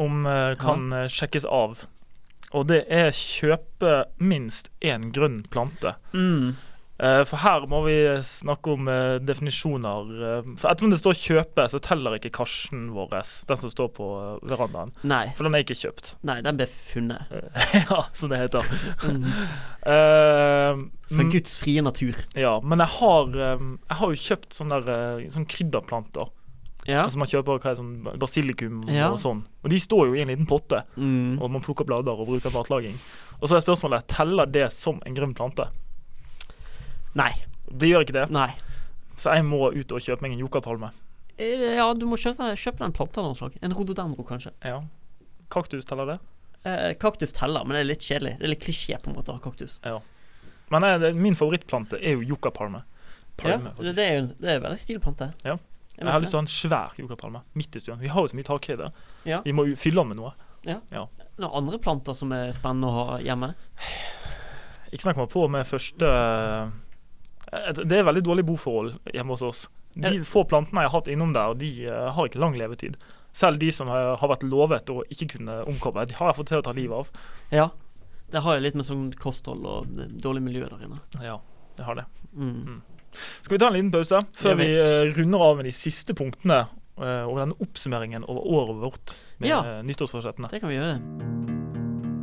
Om eh, kan eh, sjekkes av. Og det er kjøpe minst én grønn plante.
Mm.
Eh, for her må vi snakke om eh, definisjoner. eh, for ettersom det står 'kjøpe', så teller ikke karsen vår, den som står på eh, verandaen.
Nei.
For den er ikke kjøpt,
Nei, den ble funnet.
Eh, ja, som det heter.
Mm.
Eh,
Fra
mm,
Guds frie natur.
ja, men jeg har, eh, jeg har jo kjøpt sånne, der, eh, sånne krydderplanter.
Ja.
Altså man kjøper hva er det, sånn basilikum
Ja.
og sånn. Og de står jo i en liten potte,
Mm.
og man plukker blader og bruker matlaging. Og så er spørsmålet teller det som en grønn plante.
Nei.
Det gjør ikke det,
Nei.
så jeg må ut og kjøpe meg en yucapalme.
Eh, Ja, du må kjøpe, kjøpe en plante av noe slag. En rododendro, kanskje.
Ja. Kaktus teller det.
Eh, kaktus teller, men det er litt kjedelig. Det er litt klisjé på en måte å ha kaktus.
Men jeg, det- min favorittplante er jo yucapalme.
Ja,
Palme,
det,
faktisk.
det er jo en- det er en veldig stil plante.
Ja.
Jeg
Jeg har
mener
lyst til å ha en svær yucapalme midt i stuen. Vi har jo så mye takhøyde.
Ja.
Vi må jo fylle den med noe.
det. Noen andre planter som er spennende å ha hjemme?
Ikke som jeg kommer på med første Eh, Det er veldig dårlig boforhold hjemme hos oss. De
Eh.
få plantene jeg har hatt innom der, de eh, har ikke lang levetid. Selv de som har har vært lovet å ikke kunne omkomme, de har jeg fått til å ta livet av.
Ja. Det har jo litt med sånn kosthold og det- dårlig miljø der inne.
Ja, jeg har det.
Mm.
Skal vi ta en liten pause
Ja,
før
vi-
vi eh, runder av med de siste punktene eh, over denne oppsummeringen over året vårt med
Ja.
eh, nyttårsforsettene?
Det kan vi gjøre.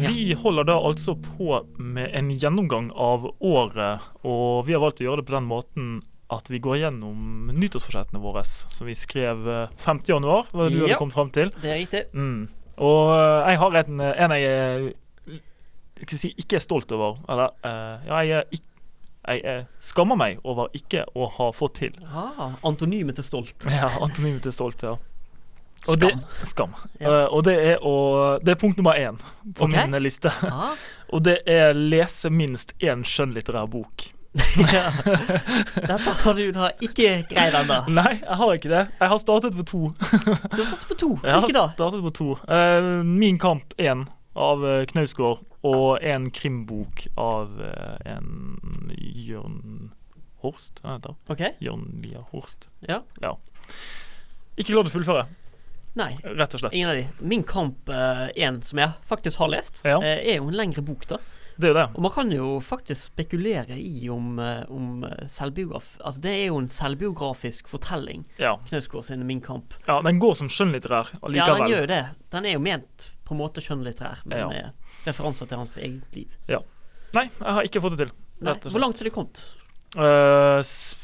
Ja.
Vi holder da altså på med en gjennomgang av året, og vi har valgt å gjøre det på den måten at vi går gjennom nyttårsforsettene våre, som vi skrev eh, 5. januar, var det du
Ja.
hadde kommet frem til.
Det er riktig.
Mm. Og eh, jeg har en, en jeg er, jeg skal si, ikke er stolt over, eller eh, ja, jeg, er ikk- jeg eh, skammer meg over ikke å ha fått til.
Ah, Antonymet til stolt.
Ja, Antonymet er stolt, ja. Og
Skam.
det, skam.
Ja.
Eh, og det er, å, det er punkt nummer én på
Ok.
min liste.
Ah.
Og det er lese minst én skjønnlitterær bok.
ja. Dette har du da ikke greid ennå.
Nei, jeg har ikke det. Jeg har startet på to.
Du har stått på to,
Jeg har
ikke da?
startet på to. Eh, min kamp én av eh, Knausgård, og en krimbok av eh, en Jørn Horst? Hva heter han?
Ok,
Jørn Lier Horst.
ja.
Ikke klart å fullføre,
Nei,
rett og slett.
ingen av de. Min kamp eh, én, som jeg faktisk har lest,
Ja.
eh, er jo en lengre bok, da.
Det er jo det.
Og man kan jo faktisk spekulere i om, eh, om eh, selvbiograf... Altså, det er jo en selvbiografisk fortelling,
Ja.
Knausgård sin Min kamp.
ja. Den går som skjønnlitterær
Ja, den
allikevel.
gjør jo det. Den er jo ment på en måte skjønnlitterær, men
Ja.
med referanser til hans eget liv.
Nei, jeg har ikke fått det til.
Nei,
Rett og slett.
hvor langt er det kommet?
Eh, s-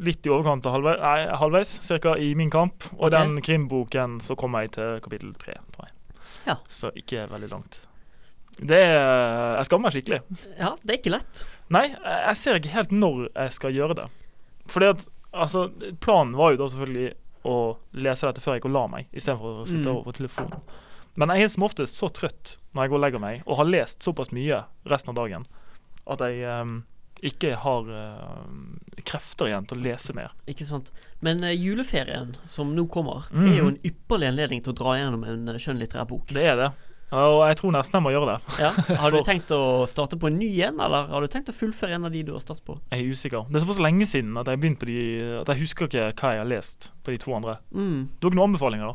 litt i overkant av halvveis, nei, halvveis cirka i min kamp. Og
Ok.
den krimboken så kom jeg til kapittel tre, tror jeg.
Ja.
Så ikke veldig langt. Det er, Jeg skammer meg skikkelig.
Ja, det er ikke lett.
Nei, jeg jeg ser ikke helt når jeg skal gjøre det. Fordi at altså, planen var jo da selvfølgelig å lese dette før jeg går og la meg, istedenfor å sitte
Mm.
over på telefonen. Men jeg er som oftest så trøtt når jeg går og legger meg, og har lest såpass mye resten av dagen, at jeg ehm, ikke har ehm, krefter igjen til å lese mer.
Ikke sant. Men eh, juleferien som nå kommer,
Mhm.
er jo en ypperlig anledning til å dra gjennom en eh, skjønnlitterær bok.
Det er det. Og jeg tror nesten jeg må gjøre det.
Ja. Har du
For-
tenkt å starte på en ny en, eller har du tenkt å fullføre en av de du har startet på?
Jeg er usikker. Det er såpass lenge siden at jeg begynte på de At jeg husker ikke hva jeg har lest på de to andre.
Mm.
Du har ikke noen anbefalinger, da?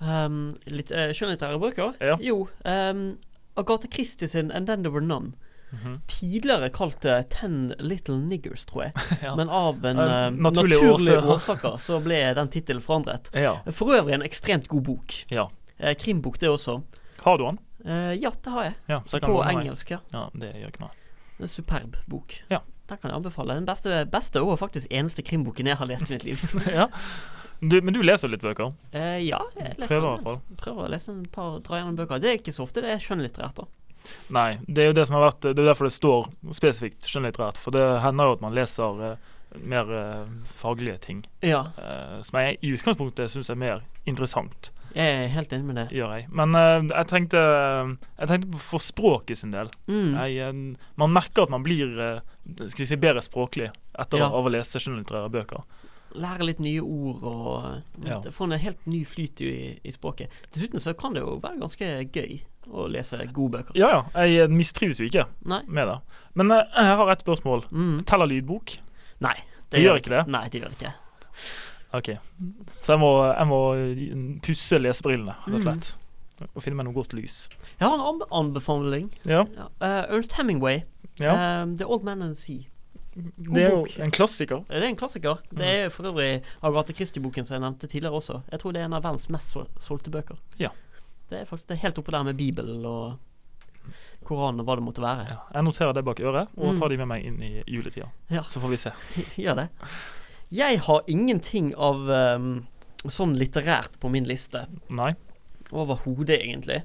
Um, litt eh, skjønnlitterære bøker?
Ja.
Jo. Um, Agatha Christie sin 'And Then There Were None'.
Mhm.
Tidligere kalt det 'Ten Little Niggers', tror jeg.
Ja.
Men av en
Av
eh,
naturlige
naturlige
årsaker.
årsaker så ble den tittelen forandret.
Ja.
For øvrig en ekstremt god bok.
ja.
Eh, krimbok, det også.
Har du den?
Eh, ja, det har jeg.
Ja, så jeg kan
På
låne meg.
engelsk, ja.
Ja, det gjør ikke noe.
En superb bok.
Ja.
Den kan jeg anbefale. Den beste, beste og faktisk eneste krimboken jeg har lest i mitt liv.
ja. du, men du leser litt bøker?
Eh, ja, jeg leser
Prøver i hvert
den.
fall.
Prøver å lese en par dra gjennom bøker. Det er ikke så ofte det er skjønnlitterært. da.
Nei, det er jo det som har vært Det er derfor det står spesifikt skjønnlitterært. For det hender jo at man leser eh, mer eh, faglige ting.
Ja,
eh, som jeg i utgangspunktet syns er mer interessant,
jeg er helt enig med det.
gjør jeg. Men eh, jeg tenkte eh, Jeg tenkte på for språket sin del.
Mm.
Jeg, eh, man merker at man blir eh, skal jeg si, bedre språklig etter
Ja.
å- av å lese skjønnlitterære bøker.
Lære litt nye ord og eh,
Ja.
få en helt ny flyt i, i språket. Dessuten så kan det jo være ganske gøy å lese gode bøker.
Ja ja, jeg mistrives jo ikke
Nei.
med det. Men eh, jeg har ett spørsmål.
Mm.
Teller lydbok?
Nei.
Det gjør ikke det?
Nei, det gjør ikke.
OK. Så jeg må, jeg må pusse lesebrillene, rett og
Mhm.
slett. Og finne meg noe godt lys.
Jeg har en anbe- anbefaling.
Ja.
Ja. eh, Ernst Hemingway,
ja.
eh, 'The Old Man and the Sea'.
Det er jo
bok.
en klassiker.
Det er en klassiker. Det er for øvrig Agathe Christie-boken som jeg nevnte tidligere også. Jeg tror det er en av verdens mest sol- solgte bøker.
Ja.
Det er faktisk det er helt oppe der med Bibelen og Koranen og hva det måtte være.
Ja. Jeg noterer det bak øret og
Mhm.
tar de med meg inn i juletida.
Ja,
Så får vi se.
gjør det. Jeg har ingenting av ehm, sånn litterært på min liste.
Nei.
Overhodet, egentlig.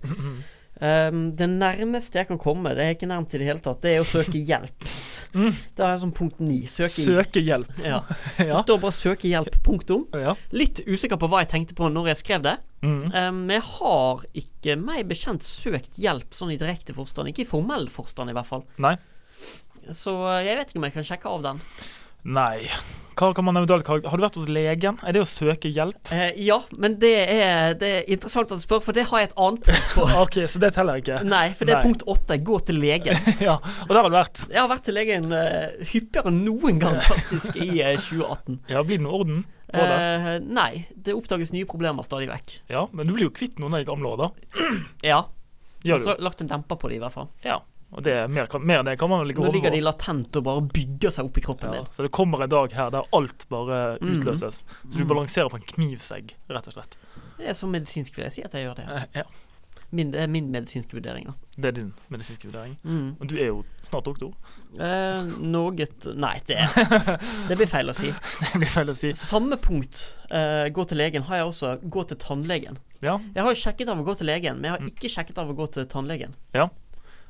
Ehm, det nærmeste jeg kan komme, det er ikke nærmt i det hele tatt, det er å søke hjelp.
Mm.
Det er sånn punkt ni. Søking.
Søke hjelp.
Ja. Det
Ja.
står bare 'søke hjelp', punktum.
ja.
Litt usikker på hva jeg tenkte på når jeg skrev det.
Mhm.
Um, jeg har ikke meg bekjent søkt hjelp sånn i direkte forstand. Ikke i formell forstand, i hvert fall.
Nei.
Så eh, jeg vet ikke om jeg kan sjekke av den.
Nei. Hva kan man eventuelt karakter... Har du vært hos legen? Er det å søke hjelp?
Eh, ja, men det er, det er interessant at du spør, for det har jeg et annet punkt på.
OK, så det teller ikke.
Nei, for det er
Nei.
punkt åtte. Gå til legen.
ja. Og der har du vært.
Jeg har vært til legen eh, hyppigere enn noen gang, faktisk, i eh, 2018.
Ja, blir det noe orden på det?
Eh, nei, det oppdages nye problemer stadig vekk.
Ja, men du blir jo kvitt noen av de gamle år, da.
Ja.
Gjør du?
Så lagt en demper på det, i hvert fall.
Ja. Og det er mer, kan- mer enn det kan man vel ikke
Nå ligger de
overgå.
latent og bare bygger seg opp i kroppen
Ja,
min.
så det kommer en dag her der alt bare
Mhm.
utløses. Så du balanserer på en knivsegg, rett og slett.
Det er så medisinsk, vil jeg si at jeg gjør det.
Eh, Ja.
Min, det er min medisinske vurdering, da.
Det er din medisinske vurdering.
Mm.
Og du er jo snart doktor.
Eh, noe t- Nei, det, det blir feil å si.
Det blir feil å si.
Samme punkt, eh, gå til legen, har jeg også. Gå til tannlegen.
Ja.
Jeg har jo sjekket av å gå til legen, men jeg har ikke sjekket av å gå til tannlegen.
Mm. Ja.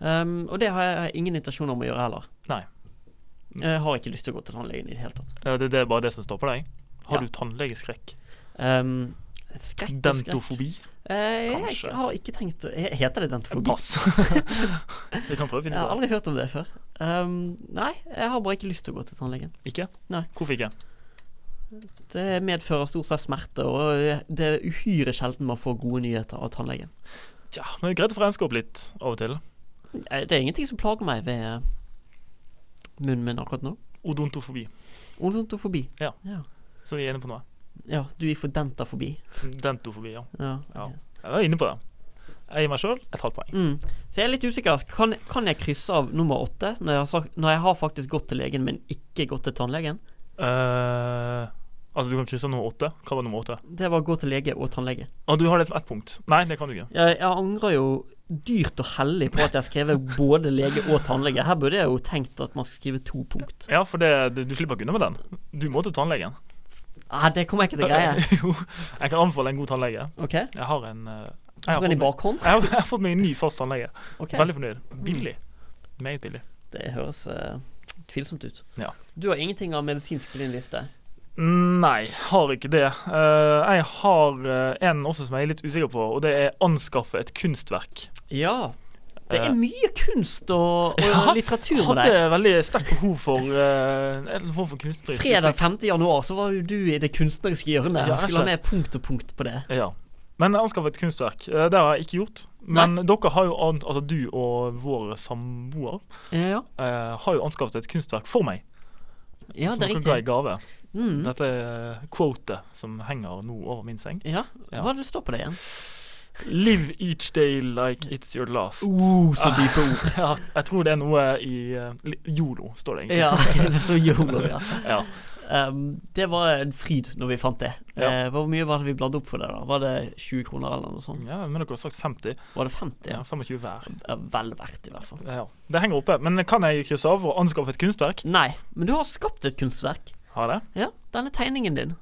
Ehm, og det har jeg ingen intensjon om å gjøre heller.
Nei.
Jeg har ikke lyst til å gå til tannlegen i det hele tatt.
Eh, Det, det er bare det som står på deg. Har
Ja.
du tannlegeskrekk?
Ehm, skrekk og skrekk.
Dentofobi?
Eh,
Kanskje.
jeg har ikke tenkt å- he- Heter det dentofobi?
Pass. Vi kan prøve å
Jeg
finne ut
har
av det.
aldri hørt om det før. Ehm, nei, jeg har bare ikke lyst til å gå til tannlegen.
Ikke?
Nei.
Hvorfor ikke?
Det eh, medfører stort sett smerte, og eh, det er uhyre sjelden man får gode nyheter av tannlegen.
Tja, men det er greit å få renska opp litt av og til.
Eh, Det er ingenting som plager meg ved eh, munnen min akkurat nå.
Odontofobi,
Odontofobi.
Ja.
ja.
så vi er inne på noe.
Ja, du gikk for dentafobi.
Dentofobi, ja.
Ja.
Ja. Jeg er inne på det. Jeg gir meg sjøl et halvt poeng.
Mm. Så jeg er litt usikker. Kan, kan jeg krysse av nummer åtte når jeg, har sagt, når jeg har faktisk gått til legen, men ikke gått til tannlegen?
Eh, altså, du kan krysse av nummer åtte. Hva var nummer åtte?
Det var gå til lege og tannlege.
Å, du har det som ett punkt. Nei, det kan du ikke.
Jeg, jeg angrer jo dyrt og hellig på at jeg har skrevet både lege og tannlege. Her burde jeg jo tenkt at man skal skrive to punkt.
Ja, for det, det, du slipper ikke unna med den. Du må til tannlegen.
Nei, Ah, det kommer jeg ikke til å greie.
jo. Jeg kan anbefale en god tannlege.
Ok?
Jeg har en eh, jeg
Har
har, fått
den i
meg,
bakhånd?
jeg, har, jeg har fått meg en ny fast tannlege.
Ok, Mm.
Veldig fornøyd. Billig. Meget billig.
Det høres eh, tvilsomt ut.
Ja.
Du har ingenting av medisinsk på din liste.
Nei, har ikke det. Eh, jeg har eh, en også som jeg er litt usikker på, og det er anskaffe et kunstverk.
Ja. Det
Eh,
er mye kunst og, og
Ja,
litteratur med
Hadde
deg.
veldig sterkt behov for eh, en form for kunstnerisk
Fredag
uttrykk.
5. januar så var jo du i det kunstneriske hjørnet
Ja,
og skulle ha med punkt og punkt på det.
Ja. Men anskaffe et kunstverk. eh, det har jeg ikke gjort. Men dere har jo an altså du og vår samboer
Ja,
eh, har jo anskaffet et kunstverk for meg.
ja
som
det er
dere ga i
riktig.
gave.
Mm.
Dette er quotet som henger nå over min seng.
Ja,
Ja.
hva er det det står på det igjen?
Live each day like it's your last.
Oh, så dype ord.
Ja, jeg tror det er noe i eh, li- Yolo, står det egentlig.
Ja, det står yolo, ja.
Ja.
Ehm, det var en fryd når vi fant det.
Ja.
Eh, hvor mye var det vi bladde opp for det? da? Var det 20 kroner eller noe sånt?
Ja, men dere har sagt 50.
Var det 50?
Ja, 25 hver.
Ja, vel verdt, i hvert fall.
Ja, ja. Det henger oppe. Men kan jeg krysse av og anskaffe et kunstverk?
Nei, men du har skapt et kunstverk.
Har jeg det?
Ja, denne tegningen din.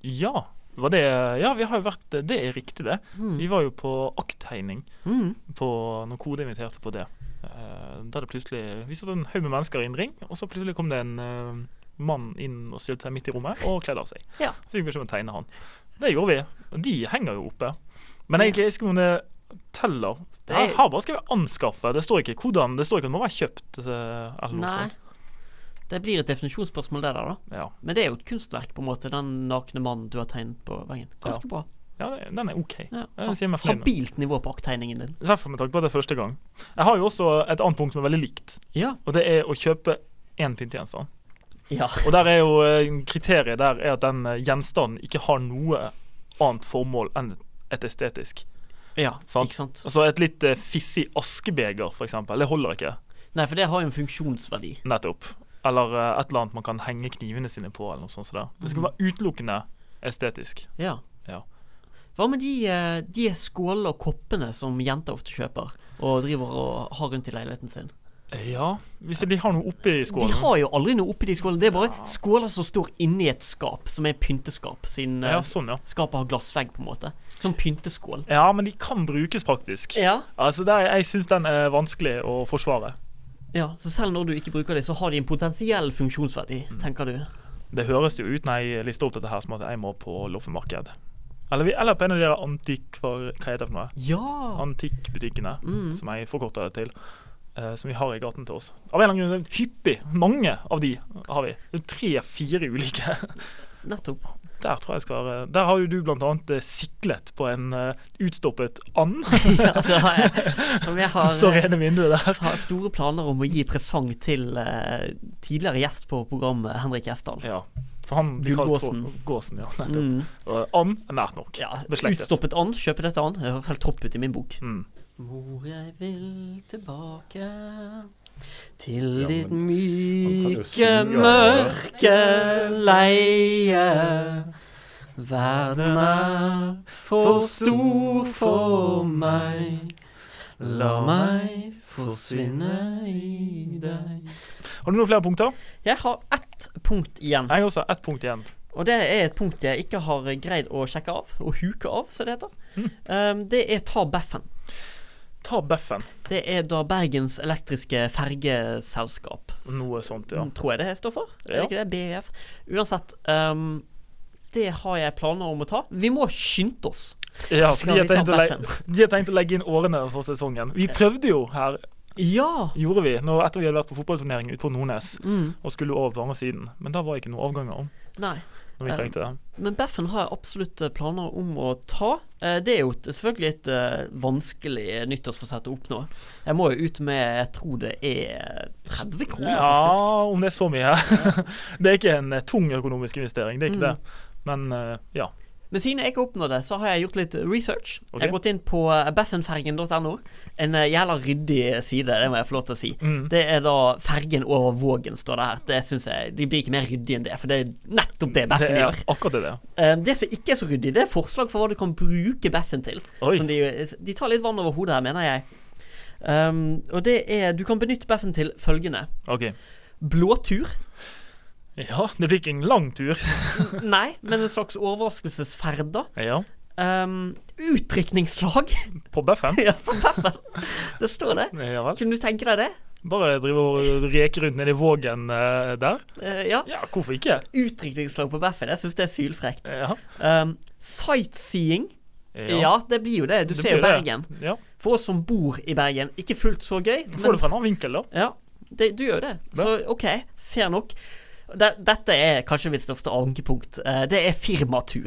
Ja. Var det Ja, vi har jo vært Det er riktig, det.
Mm.
Vi var jo på akttegning
Mm.
på, når Kode inviterte på det. Eh, Der det plutselig Vi satt en haug med mennesker i en ring, og så plutselig kom det en eh, mann inn og stilte seg midt i rommet og kledde av seg.
Ja.
Så fikk vi beskjed om å tegne han. Det gjorde vi. Og de henger jo oppe. Men egentlig, jeg skriver om det teller.
Det-
Jeg har bare skrevet 'anskaffe'. Det står ikke hvordan, det står ikke at det må være kjøpt eh, eller noe
Nei.
sånt.
Det blir et definisjonsspørsmål, det der, da.
Ja.
Men det er jo et kunstverk, på en måte, den nakne mannen du har tegnet på veggen. Ganske bra.
ja, det- den er OK.
Ja.
Den sier meg fornøyd med.
Habilt nivå på akttegningen din.
I hvert fall med tanke på at det er første gang. Jeg har jo også et annet punkt som er veldig likt,
Ja.
og det er å kjøpe én pyntgjenstand.
ja.
Og der er jo eh, kriteriet der er at den eh, gjenstanden ikke har noe annet formål enn et estetisk.
Ja,
Sant.
ikke sant.
Altså et litt eh, fiffig askebeger, for eksempel, det holder ikke.
Nei, for det har jo en funksjonsverdi.
Nettopp. Eller eh, et eller annet man kan henge knivene sine på, eller noe sånt. som det. Det skal være utelukkende estetisk.
Mhm. Ja.
Ja.
Hva med de, eh, de skålene og koppene som jenter ofte kjøper og driver og har rundt i leiligheten sin?
Ja, hvis de har noe oppi
De
skålen.
har jo aldri noe oppi de skålene. Det er bare skåler som står inni et skap, som er pynteskap, siden eh,
Ja, sånn, ja.
skapet har glassvegg, på en måte. Som pynteskål.
Ja, men de kan brukes praktisk.
Ja.
Altså, der, Jeg syns den er vanskelig å forsvare.
ja. Så selv når du ikke bruker dem, så har de en potensiell funksjonsverdi, tenker du.
Det høres jo ut når jeg lister opp dette her som at jeg må på loppemarked. Eller, vi- eller på en av de der antikvar... Hva heter det for noe?
Ja.
Antikkbutikkene,
Mm.
som jeg forkorter det til. eh, som vi har i gaten til oss. Av en eller annen grunn er det hyppig. Mange av de har vi. Tre-fire ulike.
Nettopp.
Der tror jeg skal være Der har jo du blant annet eh, siklet på en eh, utstoppet and
Ja, det har jeg. Som jeg
som
har
står
eh,
inne i vinduet der.
har store planer om å gi presang til eh, tidligere gjest på programmet, Henrik Gjesdal.
Ja. For han blir kalt
Gullgåsen.
Trå- Gåsen, ja. Nettopp.
Mm.
Og and er nært nok.
Ja,
Beslektet.
Utstoppet and, kjøpe dette and. Det høres helt topp ut i min bok.
Mm.
Mor, jeg vil tilbake til
Ja, men
ditt
kan jo
myke,
synge,
mørke leie. Verden er for stor for meg. La meg forsvinne i deg.
Har du noen flere punkter?
Jeg har ett punkt igjen.
Jeg har også ett punkt igjen.
Og det er et punkt jeg ikke har greid å sjekke av, og huke av, som det heter.
Mm.
Um, det er ta beffen.
Ta Beffen.
Det er da Bergens elektriske fergeselskap,
Noe sånt, ja.
tror jeg det står for. Er
Ja.
det ikke det? BEF. Uansett, um, det har jeg planer om å ta. Vi må skynde oss.
ja
Skal
de, har
vi ta
tenkt å legge,
Beffen?
de har tenkt å legge inn årene for sesongen. Vi prøvde jo her,
Ja!
gjorde vi, når, etter vi hadde vært på fotballturnering ute på Nordnes
Mm,
og skulle over på andre siden. Men der var ikke noen avganger om
nei.
når vi
Eh,
trengte det.
Men Beffen har jeg absolutt eh, planer om å ta. Eh, Det er jo et- selvfølgelig et eh, vanskelig nyttårsforsett å oppnå. Jeg må jo ut med Jeg tror det er eh, 30 kroner, faktisk.
Ja, om det er så mye. det er ikke en eh, tung økonomisk investering, det er ikke
Mm.
det. Men eh, ja.
Men siden jeg ikke oppnår det, så har jeg gjort litt research.
Ok.
Jeg har gått inn på eh, beffenfergen.no. En eh, jævla ryddig side, det må jeg få lov til å si.
Mm.
Det er da fergen over Vågen, står det her. Det synes jeg, De blir ikke mer ryddig enn det, for det er nettopp det
Det
Beffen
er
gjør.
akkurat det det. er.
Eh, Det som ikke er så ryddig, det er forslag for hva du kan bruke Beffen til.
Oi.
Som de, de tar litt vann over hodet her, mener jeg. Um, og det er Du kan benytte Beffen til følgende.
OK.
Blåtur.
Ja, det blir ikke en lang tur.
Nei, men en slags overraskelsesferd, da.
ja.
Um, utdrikningslag.
På Beffen.
ja, på Beffen. Det står det.
Ja vel.
Kunne du tenke deg det?
Bare drive og reke rundt nede i Vågen eh, der.
Eh, ja.
Ja, hvorfor ikke?
Utdrikningslag på Beffen. Jeg syns det er sylfrekt.
Ja.
Um, sightseeing. Ja. det blir jo det. Du
Det
ser jo
blir det.
Bergen.
Ja.
For oss som bor i Bergen. Ikke fullt så gøy,
Får
men
det fra en annen vinkel, da.
Ja, det, du gjør jo det. Så OK, fair nok. De- Dette er kanskje mitt største ankepunkt. Eh, Det er firmatur.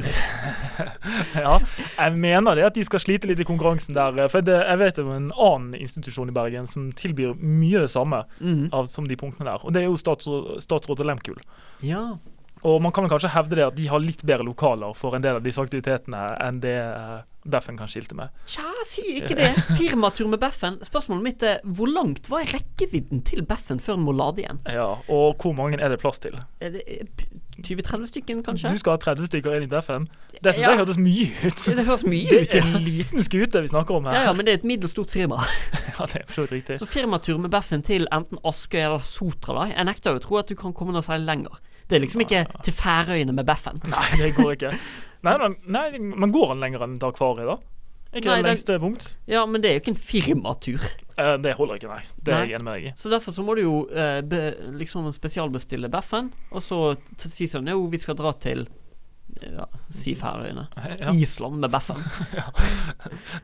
Ja, jeg mener det at de skal slite litt i konkurransen der. eh, For det, jeg vet om en annen institusjon i Bergen som tilbyr mye det samme
Mhm.
av, som de punktene der. Og det er jo statsråd, statsråd Lehmkuhl.
Ja.
Og Og man kan vel kanskje hevde det at de har litt bedre lokaler for en del av disse aktivitetene enn det eh, Beffen kan skilte med.
Tja, si ikke det. Firmatur med Beffen. Spørsmålet mitt er hvor langt var rekkevidden til Beffen før den må lade igjen?
Ja, Og hvor mange er det plass til?
Er det, eh, p- 20-30 stykken, kanskje?
Du skal ha 30 stykker inn i Beffen? Det syns
Ja.
jeg hørtes mye ut.
Det høres mye
Det
ut.
er
Ja.
en liten skute vi snakker om
Ja,
her.
ja, men det er et middels stort firma.
Ja, det er for så vidt riktig.
Så firmatur med Beffen til enten Askøy eller Sotra, da. Jeg nekter jo å tro at du kan komme noe særlig lenger. Det er liksom ikke til Færøyene med Beffen.
Nei, det går ikke. Nei, nei, nei men går han lenger enn til akvariet, da? Er Ikke
Nei,
det
det-
lengste punkt?
Ja, men det er jo ikke en firmatur.
Eh, det holder ikke, nei. Det er
Nei.
jeg enig med deg i.
Så derfor så må du jo eh, be, liksom spesialbestille Beffen, og så t- t- si sånn Jo, vi skal dra til ja, si Færøyene.
Ja,
Island med Beffen.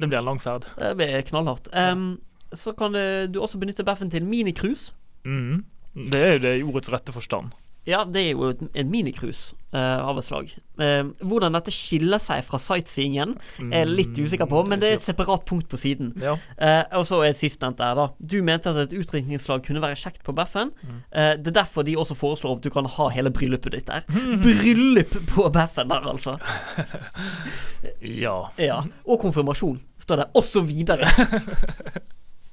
det blir en lang ferd.
Det blir knallhardt. Em, så kan det, du også benytte Beffen til minicruise.
Mhm. Det er jo det i ordets rette forstand.
Ja, det er jo et, en minicruise eh, av et slag. Em, hvordan dette skiller seg fra sightseeingen, er jeg litt
Mm,
usikker på, men det er et separat punkt på siden.
Ja.
Eh, og så er sistnevnt der, da. Du mente at et utdrikningslag kunne være kjekt på Beffen.
Mm.
Eh, det er derfor de også foreslår at du kan ha hele bryllupet ditt der. Bryllup på Beffen der, altså.
ja.
Ja. Og konfirmasjon, står det. Og så videre.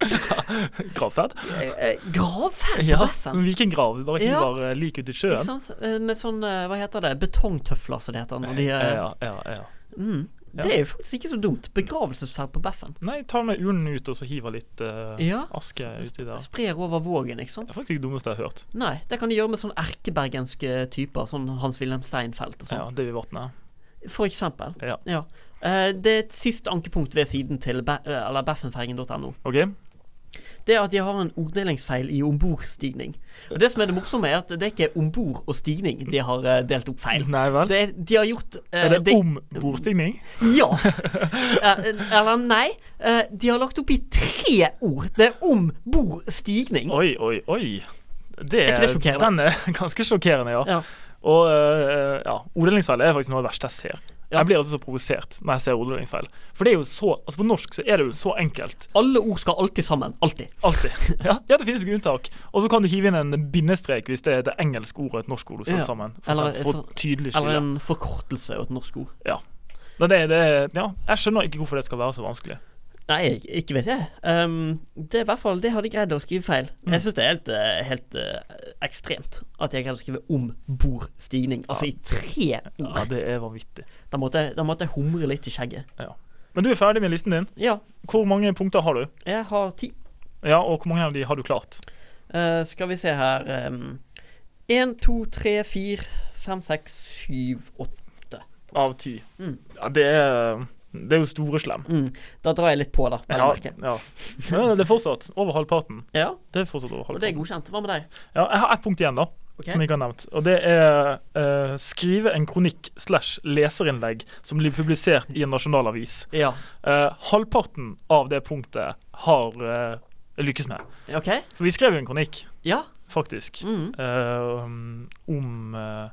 Gravferd?
Eh, eh, Gravferd på
Ja.
Beffen.
Vikinggrav. Bare
Ja.
hiver eh, lik ut i
Ikke
sjøen.
sant? Eh, Med sånn, eh, hva heter det, betongtøfler som det heter. Når de, eh,
Ja, ja, ja.
mm,
Ja.
Det er jo faktisk ikke så dumt. Begravelsesferd på Beffen.
Nei, ta med urnen ut, og så hiver litt eh,
Ja.
aske uti der.
Sprer over vågen, ikke
Det
sant.
er faktisk det dummeste jeg har hørt.
Nei, det kan de gjøre med sånn erkebergenske typer, sånn Hans-Wilhelm Steinfeld og sånn.
Ja, det vi vatner.
For eksempel.
Ja.
Eh, det er et siste ankepunkt ved siden til be eh, eller beffenfergen.no.
OK?
Det er at de har en orddelingsfeil i ombordstigning. Og det som er det morsomme, er at det er ikke ombord og stigning de har eh, delt opp feil.
Nei vel?
Det, er- de har gjort eh,
Er det
det-
om bordstigning?
Ja. Eh, eller nei. Eh, de har lagt opp i tre ord. Det er ombordstigning.
Oi, oi, oi. Det,
Er ikke det sjokkerende?
Den er ganske sjokkerende, ja.
Ja.
Og øh, ja, orddelingsfeil er faktisk noe av det verste jeg ser.
Ja.
Jeg blir alltid så provosert når jeg ser orddelingsfeil. For det er jo så, altså på norsk så er det jo så enkelt.
Alle ord skal alltid sammen. Alltid.
Alltid. Ja, ja det finnes jo ikke unntak. Og så kan du hive inn en bindestrek hvis det er det engelske ordet og et norsk ord satt
Ja.
sammen. For,
Eller-
eksempel, for å tydelig
Eller
skille.
en forkortelse og et norsk ord.
Ja. Men det, det, ja, jeg skjønner ikke hvorfor det skal være så vanskelig.
Nei, ik- ikke vet jeg. Ehm, det er i hvert fall Det har de greid å skrive feil. Jeg syns det er helt, eh, helt eh, ekstremt at de har greid å skrive om bordstigning. Altså i tre
Ja,
ord.
det er vanvittig.
Da måtte, jeg- da måtte jeg humre litt i skjegget.
Ja. Men du er ferdig med listen din.
Ja,
Hvor mange punkter har du?
jeg har ti.
Ja, og hvor mange av de har du klart?
Eh, skal vi se her Én, to, tre, fire, fem, seks, syv, åtte.
Av ti.
Mm.
Ja, det er, det er jo store slem.
Mm. Da drar jeg litt på, da. vel å
Ja,
merke.
ja. Men eh, det er fortsatt over halvparten.
ja,
Det er fortsatt over
og det er
halvparten.
godkjent. Hva med deg?
Ja, jeg har ett punkt igjen, da,
Ok.
som jeg ikke har nevnt. Og det er eh, skrive en kronikk slash leserinnlegg som blir publisert i en nasjonalavis.
Ja.
Eh, halvparten av det punktet har eh, lykkes med.
OK?
For vi skrev jo en kronikk,
Ja.
faktisk,
Mm.
eh, om eh,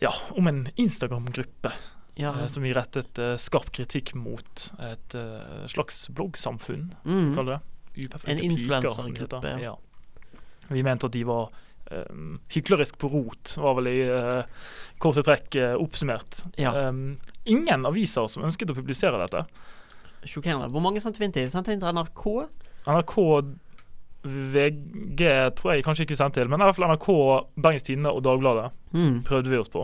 ja, om en Instagram-gruppe eh,
ja.
som vi rettet eh, skarp kritikk mot. Et eh, slags bloggsamfunn.
Mm.
kalle det. Uperfekte
En
piker, som det
influencergruppe,
heter.
ja.
Ja. Vi mente at de var um, hyklerisk på rot, var vel i eh, korte trekk eh, oppsummert.
Ja.
Em, ingen aviser som ønsket å publisere dette.
Sjokkerende. Hvor mange sendte vi inn til? Sendte vi inn Sånn til NRK?
NRK VG tror jeg kanskje ikke sendte til, men i hvert fall NRK, Bergens Tidende og Dagbladet
Mm.
prøvde vi oss på.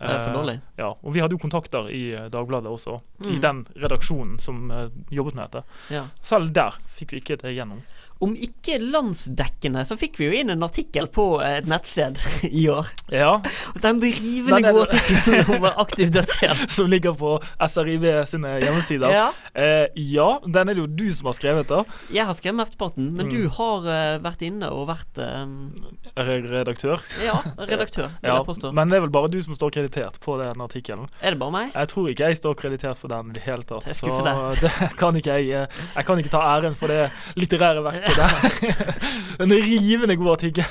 Det er for
Eh,
dårlig.
ja, og vi hadde jo kontakter i eh, Dagbladet også, i
Mm.
den redaksjonen som eh, jobbet med dette.
Ja.
Selv der fikk vi ikke det gjennom.
Om ikke landsdekkende, så fikk vi jo inn en artikkel på eh, et nettsted i år.
Ja,
Og Den rivende
Den er-
gode artikkelen om aktiv dødshjelp.
som ligger på SRIB sine hjemmesider.
Ja.
Eh, ja, den er det jo du som har skrevet, da.
Jeg har skrevet mesteparten, men
Mm.
du har eh, vært inne og vært eh,
Re- Redaktør.
ja, redaktør, vil
Ja,
jeg påstå.
men det er vel bare du som står kreditert på den artikkelen.
Er det bare meg?
Jeg tror ikke jeg står kreditert for den i det hele tatt.
Det er
Så
skuffende.
det kan ikke jeg eh, Jeg kan ikke ta æren for det litterære verket der. En rivende god artikkel.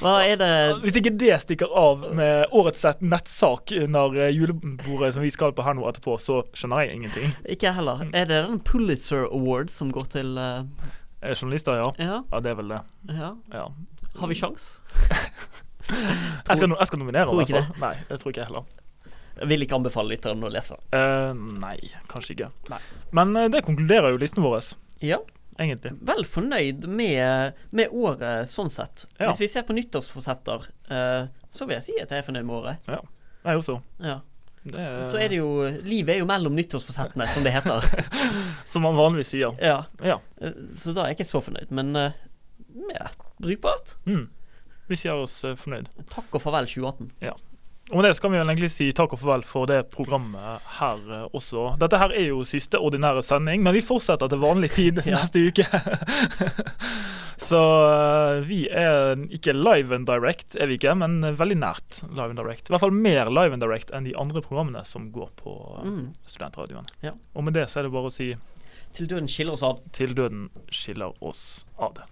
Hva er det
Hvis ikke det stikker av med årets sett- nettsak under eh, julebordet som vi skal på her nå etterpå, så skjønner jeg ingenting.
Ikke jeg heller. Er det den Pulitzer Award som går til eh,
Eh, Journalister, ja.
Ja,
Ja, det er vel det.
ja.
Ja.
Har vi sjans?
Jeg skal, no- jeg skal nominere
Tror
den.
ikke
derfor. Nei, det tror ikke jeg heller.
Jeg vil ikke anbefale lytteren å lese. den.
Eh, nei, kanskje ikke.
Nei.
Men eh, det konkluderer jo listen vår,
Ja,
egentlig.
vel fornøyd med, med året sånn sett.
Ja.
Hvis vi ser på nyttårsforsetter, eh, så vil jeg si at jeg er fornøyd med året.
Jeg også.
Ja.
Det er,
Så er det jo Livet er jo mellom nyttårsforsettene, som det heter.
Som man vanligvis sier.
Ja.
Ja.
Eh, Så da er jeg ikke så fornøyd, men eh, ja, brukbart.
Mm. Vi sier oss eh, fornøyd.
Takk og farvel 2018.
Og med det skal vi vel egentlig si takk og farvel for det programmet her eh, også. Dette her er jo siste ordinære sending, men vi fortsetter til vanlig tid
Ja.
neste uke. Så eh, vi er ikke live and direct, er vi ikke, men veldig nært live and direct. I hvert fall mer live and direct enn de andre programmene som går på eh,
Mm.
studentradioen.
Ja.
Og med det så er det bare å si
Til døden skiller oss ad.
til døden skiller oss av det.